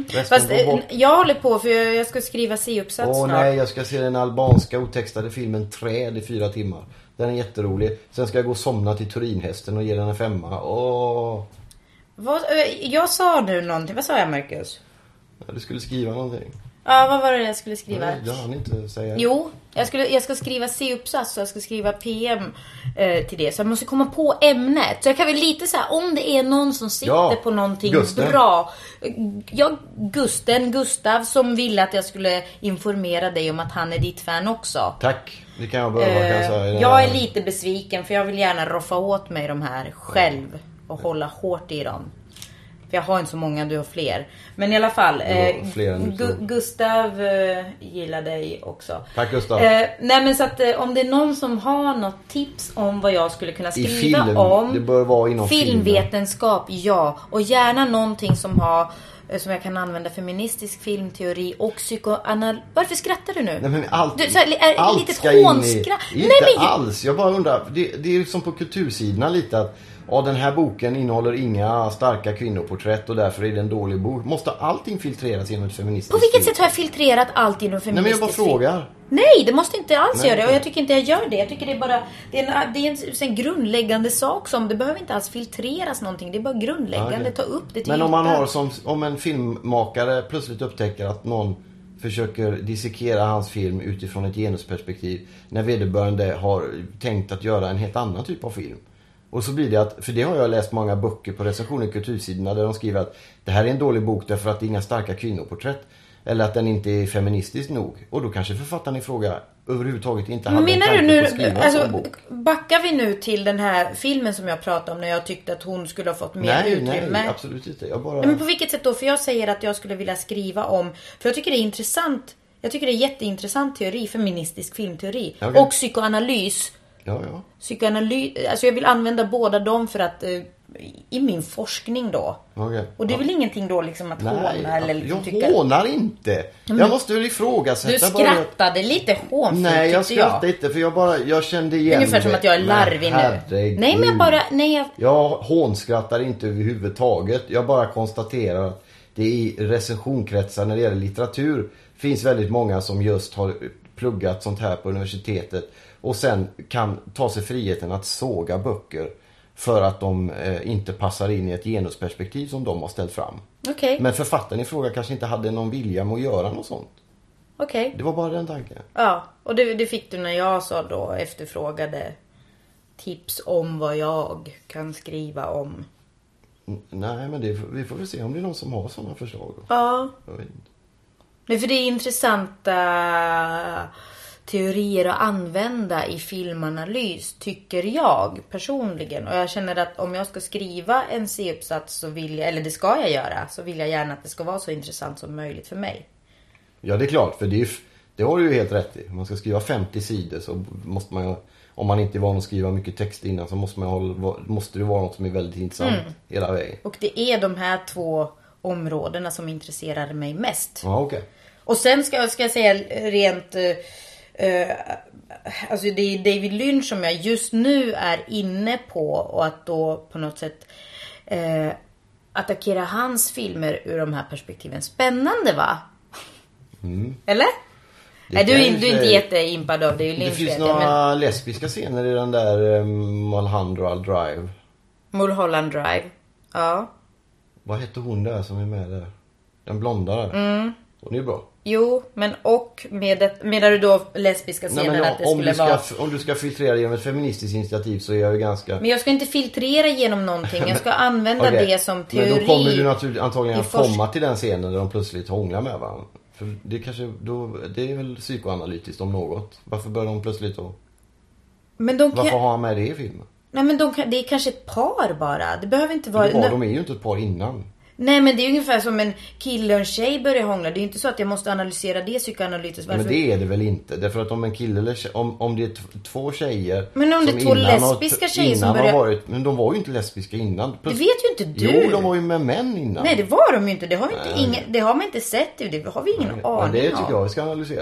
Speaker 1: Resten
Speaker 2: Fast
Speaker 1: går bort.
Speaker 2: eh, jag håller på för jag, jag ska skriva C-uppsats
Speaker 1: Åh
Speaker 2: snart.
Speaker 1: nej, jag ska se den albanska otextade filmen Träd i fyra timmar. Den är jätterolig. Sen ska jag gå och somna till Turinhästen och ge den en femma. Åh!
Speaker 2: Vad, eh, jag sa nu någonting. Vad sa jag Marcus?
Speaker 1: Ja, Du skulle skriva någonting.
Speaker 2: Ja, vad var det jag skulle skriva?
Speaker 1: Nej, Jag hann inte säga.
Speaker 2: Jo, jag, skulle, jag ska skriva C-uppsats och jag ska skriva PM eh, till det. Så jag måste komma på ämnet. Så jag kan väl lite så här, om det är någon som sitter
Speaker 1: Ja,
Speaker 2: på någonting
Speaker 1: Gusten.
Speaker 2: bra. eh, Ja, Gusten, Gustav som ville att jag skulle informera dig om att han är ditt fan också.
Speaker 1: Tack. Det kan jag behöva kan jag säga. i den
Speaker 2: Eh, Jag
Speaker 1: här-
Speaker 2: är lite besviken för jag vill gärna roffa åt mig de här själv och hålla hårt i dem. För jag har inte så många, du har fler. Men i alla fall. eh,
Speaker 1: har fler än du
Speaker 2: Gu-
Speaker 1: tror.
Speaker 2: Gustav eh, gillar dig också.
Speaker 1: Tack, Gustav.
Speaker 2: Eh, nej men så att eh, om det är någon som har något tips om vad jag skulle kunna skriva
Speaker 1: film.
Speaker 2: om.
Speaker 1: Det bör vara inom filmen.
Speaker 2: Filmvetenskap, ja. Och gärna någonting som har eh, som jag kan använda feministisk filmteori och psykoanal... Varför skrattar du nu?
Speaker 1: Nej men allt,
Speaker 2: Du, så här, li- är,
Speaker 1: allt
Speaker 2: litet
Speaker 1: ska in i...
Speaker 2: hånskra-
Speaker 1: Inte
Speaker 2: Nej, men-
Speaker 1: alls. Jag bara undrar. Det, det är liksom på kultursidorna lite att ja, den här boken innehåller inga starka kvinnoporträtt och därför är det en dålig bok. Måste allting filtreras genom ett feministiskt
Speaker 2: På vilket
Speaker 1: filter?
Speaker 2: sätt har jag filtrerat allt inom
Speaker 1: Nej men jag
Speaker 2: feministisk
Speaker 1: bara
Speaker 2: film?
Speaker 1: frågar.
Speaker 2: Nej, det måste inte alls
Speaker 1: Nej,
Speaker 2: göra det. Och
Speaker 1: okej.
Speaker 2: jag tycker inte jag gör det. Jag tycker det är bara... Det är en, det är en, en grundläggande sak som... Det behöver inte alls filtreras någonting. Det är bara grundläggande.
Speaker 1: Ja, okej.
Speaker 2: Ta upp det till
Speaker 1: Men om man
Speaker 2: ytan.
Speaker 1: har som, om en filmmakare plötsligt upptäcker att någon försöker dissekera hans film utifrån ett genusperspektiv när vederbörande har tänkt att göra en helt annan typ av film. Och så blir det att, för det har jag läst många böcker på recensioner i kultursidorna där de skriver att det här är en dålig bok därför att det är inga starka kvinnoporträtt. Eller att den inte är feministisk nog. Och då kanske författaren i fråga överhuvudtaget inte hade en
Speaker 2: Menar
Speaker 1: tanke
Speaker 2: du
Speaker 1: på att skriva
Speaker 2: nu,
Speaker 1: en sån
Speaker 2: alltså,
Speaker 1: bok.
Speaker 2: backar vi nu till den här filmen som jag pratade om när jag tyckte att hon skulle ha fått mer
Speaker 1: Nej,
Speaker 2: utrymme?
Speaker 1: nej, absolut inte. Jag bara...
Speaker 2: Nej, Men på vilket sätt då? För jag säger att jag skulle vilja skriva om, för jag tycker det är intressant. Jag tycker det är jätteintressant teori, feministisk filmteori.
Speaker 1: Okej.
Speaker 2: Och psykoanalys.
Speaker 1: Ja, ja.
Speaker 2: Psykoanalys, alltså jag vill använda båda dem för att, eh, i min forskning då.
Speaker 1: Okej.
Speaker 2: Och det är väl ingenting då liksom att håna eller liksom
Speaker 1: alltså, jag
Speaker 2: tycka.
Speaker 1: hånar inte. Jag måste väl ifrågasätta
Speaker 2: Du
Speaker 1: bara att-
Speaker 2: skrattade lite hånfullt
Speaker 1: Nej, jag
Speaker 2: tyckte jag.
Speaker 1: skrattar inte för jag bara, jag kände igen
Speaker 2: Ungefär som
Speaker 1: det.
Speaker 2: att jag är
Speaker 1: men,
Speaker 2: larvig nu.
Speaker 1: herregud.
Speaker 2: Nej men jag bara, nej jag,
Speaker 1: Jag hånskrattar inte överhuvudtaget. Jag bara konstaterar att det i recensionkretsar när det gäller litteratur finns väldigt många som just har pluggat sånt här på universitetet och sen kan ta sig friheten att såga böcker för att de eh, inte passar in i ett genusperspektiv som de har ställt fram.
Speaker 2: okej,
Speaker 1: Men författaren i fråga kanske inte hade någon vilja med att göra något sånt.
Speaker 2: okej.
Speaker 1: Det var bara den tanken.
Speaker 2: Ja, och det, det fick du när jag sa då efterfrågade tips om vad jag kan skriva om.
Speaker 1: N- Nej, men det, vi får väl se om det är någon som har sådana förslag.
Speaker 2: Ja.
Speaker 1: Jag vet inte.
Speaker 2: Nej, för det är intressanta teorier att använda i filmanalys, tycker jag personligen. Och jag känner att om jag ska skriva en C-uppsats så vill jag, eller det ska jag göra, så vill jag gärna att det ska vara så intressant som möjligt för mig.
Speaker 1: Ja, det är klart. För det, är, ju f- det har du ju helt rätt i. Om man ska skriva 50 sidor så måste man ju... Om man inte är van att skriva mycket text innan så måste, man ju ha, måste det vara något som är väldigt intressant
Speaker 2: Mm.
Speaker 1: hela vägen.
Speaker 2: Och det är de här två områdena som intresserar mig mest.
Speaker 1: Ja, okej.
Speaker 2: Och sen ska, jag- ska jag säga rent... eh, eh, alltså det är David Lynch som jag just nu är inne på och att då på något sätt eh, attackera hans filmer ur de här perspektiven. Spännande va? Eller? Nej, du,
Speaker 1: Mm. kan ju
Speaker 2: är- du är inte
Speaker 1: säga-
Speaker 2: jätteimpad av David
Speaker 1: Det
Speaker 2: Lynch
Speaker 1: finns
Speaker 2: vet jag, men
Speaker 1: några lesbiska scener i den där eh, Mulholland Drive.
Speaker 2: Mulholland Drive. Ja.
Speaker 1: Vad hette hon där som är med där? Den blonda där.
Speaker 2: Mm.
Speaker 1: Hon är ju bra.
Speaker 2: Jo, men och med det, menar du då lesbiska
Speaker 1: Nej,
Speaker 2: scener
Speaker 1: men
Speaker 2: att det
Speaker 1: om,
Speaker 2: skulle
Speaker 1: du ska,
Speaker 2: vara...
Speaker 1: om du ska filtrera genom ett feministiskt initiativ så är jag ju ganska...
Speaker 2: Men jag ska inte filtrera genom någonting. Jag ska
Speaker 1: (laughs)
Speaker 2: använda
Speaker 1: Okej.
Speaker 2: det som teori.
Speaker 1: Men då kommer du naturligt, antagligen
Speaker 2: i
Speaker 1: att
Speaker 2: forsk-
Speaker 1: komma till den scenen där de plötsligt hånglar med varandra. För det, kanske, då, det är väl psykoanalytiskt om något. Varför börjar de plötsligt då?
Speaker 2: Men de
Speaker 1: Varför
Speaker 2: kan...
Speaker 1: har han med det i filmen?
Speaker 2: Nej men de kan... det är kanske ett par bara. Det behöver inte vara...
Speaker 1: Det var,
Speaker 2: Nej-
Speaker 1: de är ju inte ett par innan.
Speaker 2: Nej men det är ungefär som en kille och en tjej börjar hångla. Det är inte så att jag måste analysera det psykoanalytiskt. Varför?
Speaker 1: Men det är det väl inte? Därför att om en kille eller tjej, om, om det är t- två tjejer
Speaker 2: Men om det
Speaker 1: som
Speaker 2: är två
Speaker 1: innan har-
Speaker 2: lesbiska tjejer som
Speaker 1: innan har
Speaker 2: börjar-
Speaker 1: varit, Men de var ju inte lesbiska innan.
Speaker 2: Det
Speaker 1: Plötsligt-
Speaker 2: vet ju inte du.
Speaker 1: Jo, de var ju med män innan.
Speaker 2: Nej det var de ju inte. Det har, vi inte
Speaker 1: Nej.
Speaker 2: ingen... det har man inte sett. ju. Det har vi ingen
Speaker 1: ja,
Speaker 2: aning
Speaker 1: det tycker
Speaker 2: om.
Speaker 1: jag vi ska analysera.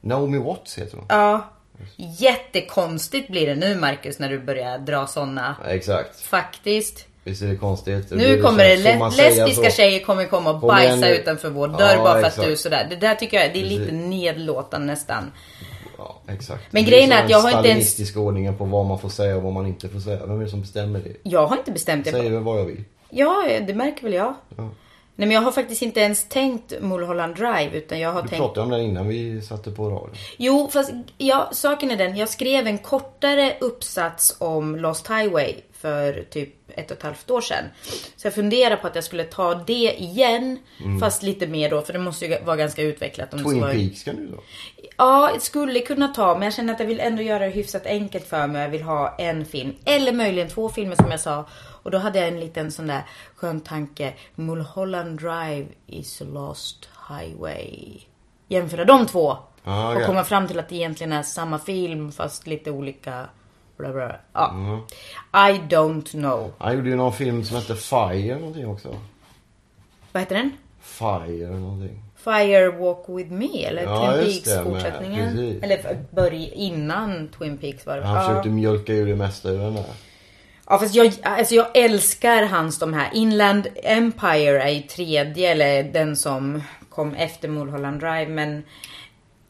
Speaker 1: Naomi Watts heter hon.
Speaker 2: Ja. Jättekonstigt blir det nu Marcus när du börjar dra såna.
Speaker 1: Ja, Exakt.
Speaker 2: Faktiskt.
Speaker 1: Visst är det konstigt? blir
Speaker 2: Nu
Speaker 1: det
Speaker 2: kommer
Speaker 1: så-
Speaker 2: det
Speaker 1: får
Speaker 2: le-
Speaker 1: man säga
Speaker 2: lesbiska
Speaker 1: så?
Speaker 2: tjejer kommer komma och
Speaker 1: Kom igen
Speaker 2: bajsa
Speaker 1: nu.
Speaker 2: utanför vår
Speaker 1: Ja,
Speaker 2: dörr bara för att
Speaker 1: exakt.
Speaker 2: du är sådär. Det där tycker jag det är lite
Speaker 1: Precis.
Speaker 2: nedlåtande nästan.
Speaker 1: Ja, exakt.
Speaker 2: Men
Speaker 1: Det
Speaker 2: grejen är
Speaker 1: som
Speaker 2: att jag har inte ens-
Speaker 1: Den stalinistiska ordningen på vad man får säga och vad man inte får säga. Vem är det som bestämmer det?
Speaker 2: Jag har inte bestämt
Speaker 1: Jag
Speaker 2: det.
Speaker 1: säger väl vad jag vill.
Speaker 2: Ja, det märker väl jag. Nej men jag har faktiskt inte ens tänkt Mulholland Drive utan jag har
Speaker 1: Du
Speaker 2: tänkt...
Speaker 1: pratade om den innan vi satte på radion.
Speaker 2: Mm, Jo, fast ja, saken är den. Jag skrev en kortare uppsats om Lost Highway för typ ett och ett halvt år sedan. Så jag funderar på att jag skulle ta det igen. Fast lite mer då, för det måste ju vara ganska utvecklat. Om det
Speaker 1: Mm. Twin
Speaker 2: ska vara...
Speaker 1: Peaks kan du då.
Speaker 2: Ja, jag skulle kunna ta, men jag känner att jag vill ändå göra det hyfsat enkelt för mig. Jag vill ha en film, eller möjligen två filmer som jag sa. Och då hade jag en liten sån där skön tanke. Mulholland Drive is a lost highway. Jämföra de två.
Speaker 1: Ah, okej.
Speaker 2: Och komma fram till att det egentligen är samma film fast lite olika. Bla bla. bla. Ja.
Speaker 1: Mm-hmm.
Speaker 2: I don't know.
Speaker 1: Han gjorde ju någon film som hette Fire någonting också.
Speaker 2: Vad heter den?
Speaker 1: Fire någonting.
Speaker 2: Fire Walk With Me eller
Speaker 1: Ja,
Speaker 2: Twin
Speaker 1: just
Speaker 2: Peaks
Speaker 1: det, med-
Speaker 2: fortsättningen.
Speaker 1: precis.
Speaker 2: eller börj innan Twin Peaks var det.
Speaker 1: Han
Speaker 2: Ja.
Speaker 1: försökte mjölka ur det mesta ur den där.
Speaker 2: Ja fast jag, alltså jag älskar hans de här. Inland Empire är ju tredje eller den som kom efter Mulholland Drive men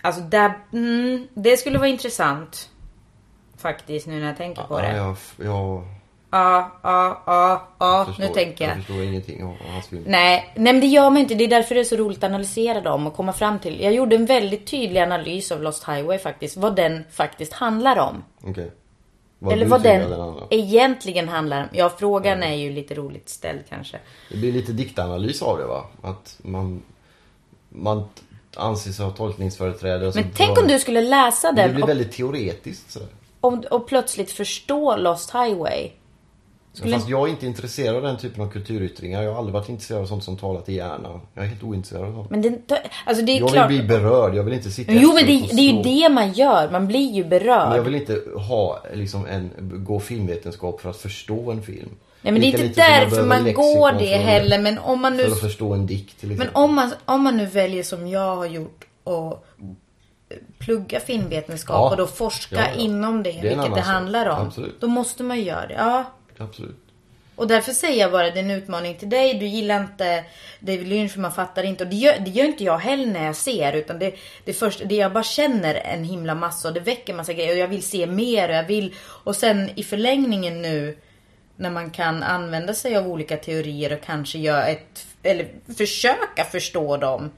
Speaker 2: alltså där, mm, det skulle vara intressant. Faktiskt nu när jag tänker på
Speaker 1: Ja,
Speaker 2: det.
Speaker 1: jag, jag,
Speaker 2: Ja, ja, ja, ja, nu
Speaker 1: förstår,
Speaker 2: tänker jag.
Speaker 1: jag förstår ingenting av av hans film.
Speaker 2: Nej, nej men det gör man inte. Det är därför det är så roligt att analysera dem och komma fram till. Jag gjorde en väldigt tydlig analys av Lost Highway faktiskt. Vad den faktiskt handlar om.
Speaker 1: Okej.
Speaker 2: Eller
Speaker 1: du
Speaker 2: vad
Speaker 1: tycker
Speaker 2: den,
Speaker 1: av andra.
Speaker 2: egentligen handlar om. Ja, frågan
Speaker 1: Mm.
Speaker 2: är ju lite roligt ställd kanske.
Speaker 1: Det blir lite diktanalys av det va? Att man, man anser sig ha tolkningsföreträde. och så
Speaker 2: Men
Speaker 1: drar-
Speaker 2: tänk om du skulle läsa
Speaker 1: Det
Speaker 2: den
Speaker 1: blir
Speaker 2: och,
Speaker 1: väldigt teoretiskt sådär.
Speaker 2: och, och plötsligt förstå Lost Highway. Skulle-
Speaker 1: Fast jag är inte intresserad av den typen av kulturyttringar. Jag har aldrig varit intresserad av sånt som talat i hjärnan. Jag är helt ointresserad av sånt.
Speaker 2: Men det, alltså det är
Speaker 1: Jag
Speaker 2: klart.
Speaker 1: vill bli berörd. Jag vill inte sitta
Speaker 2: Jo men
Speaker 1: efteråt
Speaker 2: det,
Speaker 1: och
Speaker 2: det är ju
Speaker 1: slå.
Speaker 2: det man gör. Man blir ju berörd.
Speaker 1: Men jag vill inte ha liksom en, gå filmvetenskap för att förstå en film.
Speaker 2: Nej men det
Speaker 1: Lika
Speaker 2: är inte
Speaker 1: lite som jag
Speaker 2: därför
Speaker 1: behöver
Speaker 2: man
Speaker 1: lexikon
Speaker 2: går
Speaker 1: för
Speaker 2: det
Speaker 1: att-
Speaker 2: heller. Men om man nu
Speaker 1: För att förstå en dikt till
Speaker 2: Men
Speaker 1: exempel.
Speaker 2: om man, om man nu väljer som jag har gjort och plugga filmvetenskap
Speaker 1: Ja.
Speaker 2: och då forska
Speaker 1: Ja, ja.
Speaker 2: inom det,
Speaker 1: Det är en
Speaker 2: vilket
Speaker 1: annan
Speaker 2: det
Speaker 1: sak.
Speaker 2: handlar om.
Speaker 1: Absolut.
Speaker 2: Då måste man ju göra det. Ja.
Speaker 1: Absolut.
Speaker 2: Och därför säger jag bara, det är en utmaning till dig. Du gillar inte David Lynch för man fattar inte. Och det gör, det gör inte jag heller när jag ser. Utan det, det, först, det jag bara känner en himla massa och det väcker massa grejer. Och jag vill se mer och jag vill... Och sen i förlängningen nu när man kan använda sig av olika teorier och kanske göra ett... Eller försöka förstå dem.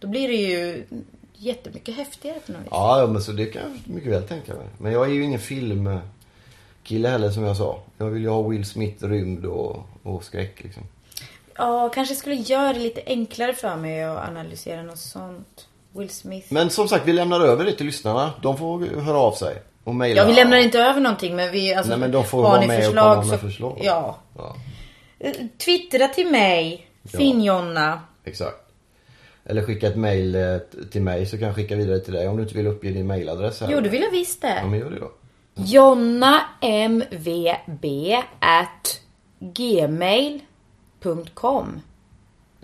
Speaker 2: Då blir det ju jättemycket häftigare på något vis.
Speaker 1: Ja, ja, men så det kan jag mycket väl tänka mig. Men jag är ju ingen filmkille heller som jag sa. Jag vill ju ha Will Smith rymd och, och skräck liksom.
Speaker 2: Ja, kanske skulle göra det lite enklare för mig att analysera något sånt. Will Smith.
Speaker 1: Men som sagt, vi lämnar över det till lyssnarna. De får höra av sig och mejla.
Speaker 2: Ja, vi lämnar inte över någonting men vi... Alltså,
Speaker 1: Nej, men de får
Speaker 2: har
Speaker 1: vara
Speaker 2: ni
Speaker 1: med
Speaker 2: förslag
Speaker 1: och komma med
Speaker 2: så-
Speaker 1: förslag.
Speaker 2: Ja.
Speaker 1: ja.
Speaker 2: Eh, Twittra till mig.
Speaker 1: Ja.
Speaker 2: Finnjonna.
Speaker 1: Exakt. Eller skicka ett mejl eh, t- till mig så kan jag skicka vidare till dig om du inte vill uppge din mejladress. här.
Speaker 2: Jo, det vill jag visst
Speaker 1: Ja,
Speaker 2: det.
Speaker 1: men gör det då.
Speaker 2: JonnaMVB at gmail.com.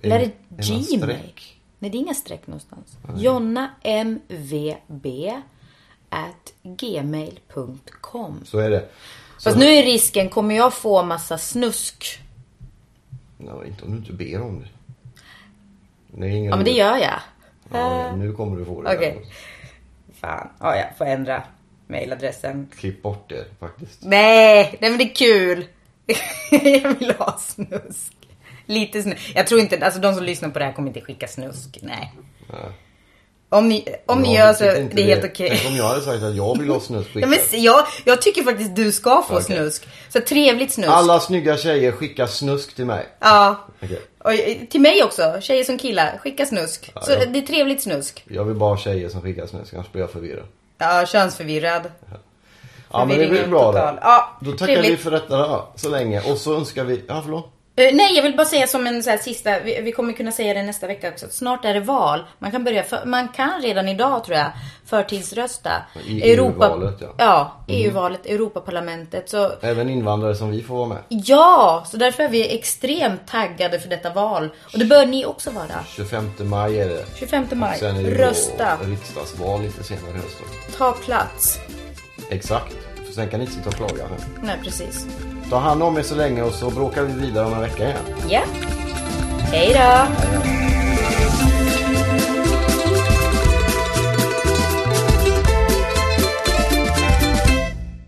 Speaker 2: Eller är
Speaker 1: Är
Speaker 2: det
Speaker 1: det någon
Speaker 2: Gmail?
Speaker 1: streck?
Speaker 2: Nej, det är inga streck någonstans. JonnaMVB at gmail.com.
Speaker 1: Så är det. Så,
Speaker 2: Fast nu är risken, kommer jag få massa snusk?
Speaker 1: Nej, inte om du inte ber om det. Det är ingen
Speaker 2: Ja, men det gör jag.
Speaker 1: Ja, nu kommer du få det.
Speaker 2: Eh. Okej. Fan, ja, jag får ändra mailadressen.
Speaker 1: Klipp bort det faktiskt.
Speaker 2: Nej, nej men det är kul. (laughs) jag vill ha snusk. Lite snusk. Jag tror inte, alltså de som lyssnar på det här kommer inte skicka snusk. Nej.
Speaker 1: Nej.
Speaker 2: Om ni, om ni
Speaker 1: Jag
Speaker 2: gör så,
Speaker 1: tycker
Speaker 2: det
Speaker 1: inte
Speaker 2: är helt okej. (laughs)
Speaker 1: Tänk om jag hade sagt att jag vill ha snusk
Speaker 2: Ja, men
Speaker 1: skickat.
Speaker 2: se, jag, jag tycker faktiskt du ska få
Speaker 1: Okej.
Speaker 2: snusk. Så trevligt snusk.
Speaker 1: Alla snygga tjejer skickar snusk till mig.
Speaker 2: Ja.
Speaker 1: Okej.
Speaker 2: Och, eh, till mig också, tjejer som killar. Skicka snusk. så
Speaker 1: ja.
Speaker 2: det är trevligt snusk.
Speaker 1: Jag vill bara ha tjejer som skickar snusk, annars blir jag förvirrad.
Speaker 2: Ja, könsförvirrad.
Speaker 1: Ja men det
Speaker 2: Förvirringen
Speaker 1: blir bra då.
Speaker 2: total. Ja,
Speaker 1: då tackar
Speaker 2: trevligt.
Speaker 1: vi för detta då, så länge. Och så önskar vi... Ja förlåt?
Speaker 2: Eh, Nej, jag vill bara säga som en så här sista, vi, vi kommer kunna säga det nästa vecka också, att snart är det val. Man kan börja, för, man kan redan idag tror jag, förtidsrösta.
Speaker 1: I EU-valet, ja. Mm.
Speaker 2: EU-valet, Europaparlamentet. Så,
Speaker 1: Även invandrare som vi får vara med.
Speaker 2: ja, så därför är vi extremt taggade för detta val. Och det bör ni också vara.
Speaker 1: 25 maj är det.
Speaker 2: 25 maj,
Speaker 1: Sen är det då
Speaker 2: rösta,
Speaker 1: riksdagsval lite senare i höst. då.
Speaker 2: ta plats.
Speaker 1: Exakt. För sen kan ni inte sitta och klaga. här.
Speaker 2: Nej, precis.
Speaker 1: Ta hand om er så länge och så bråkar vi vidare om en vecka igen.
Speaker 2: Ja. Hej då!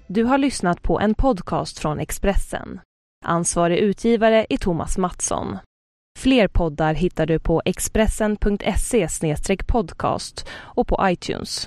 Speaker 3: Du har lyssnat på en podcast från Expressen. Ansvarig utgivare är Thomas Mattsson. Fler poddar hittar du på expressen.se podcast och på iTunes.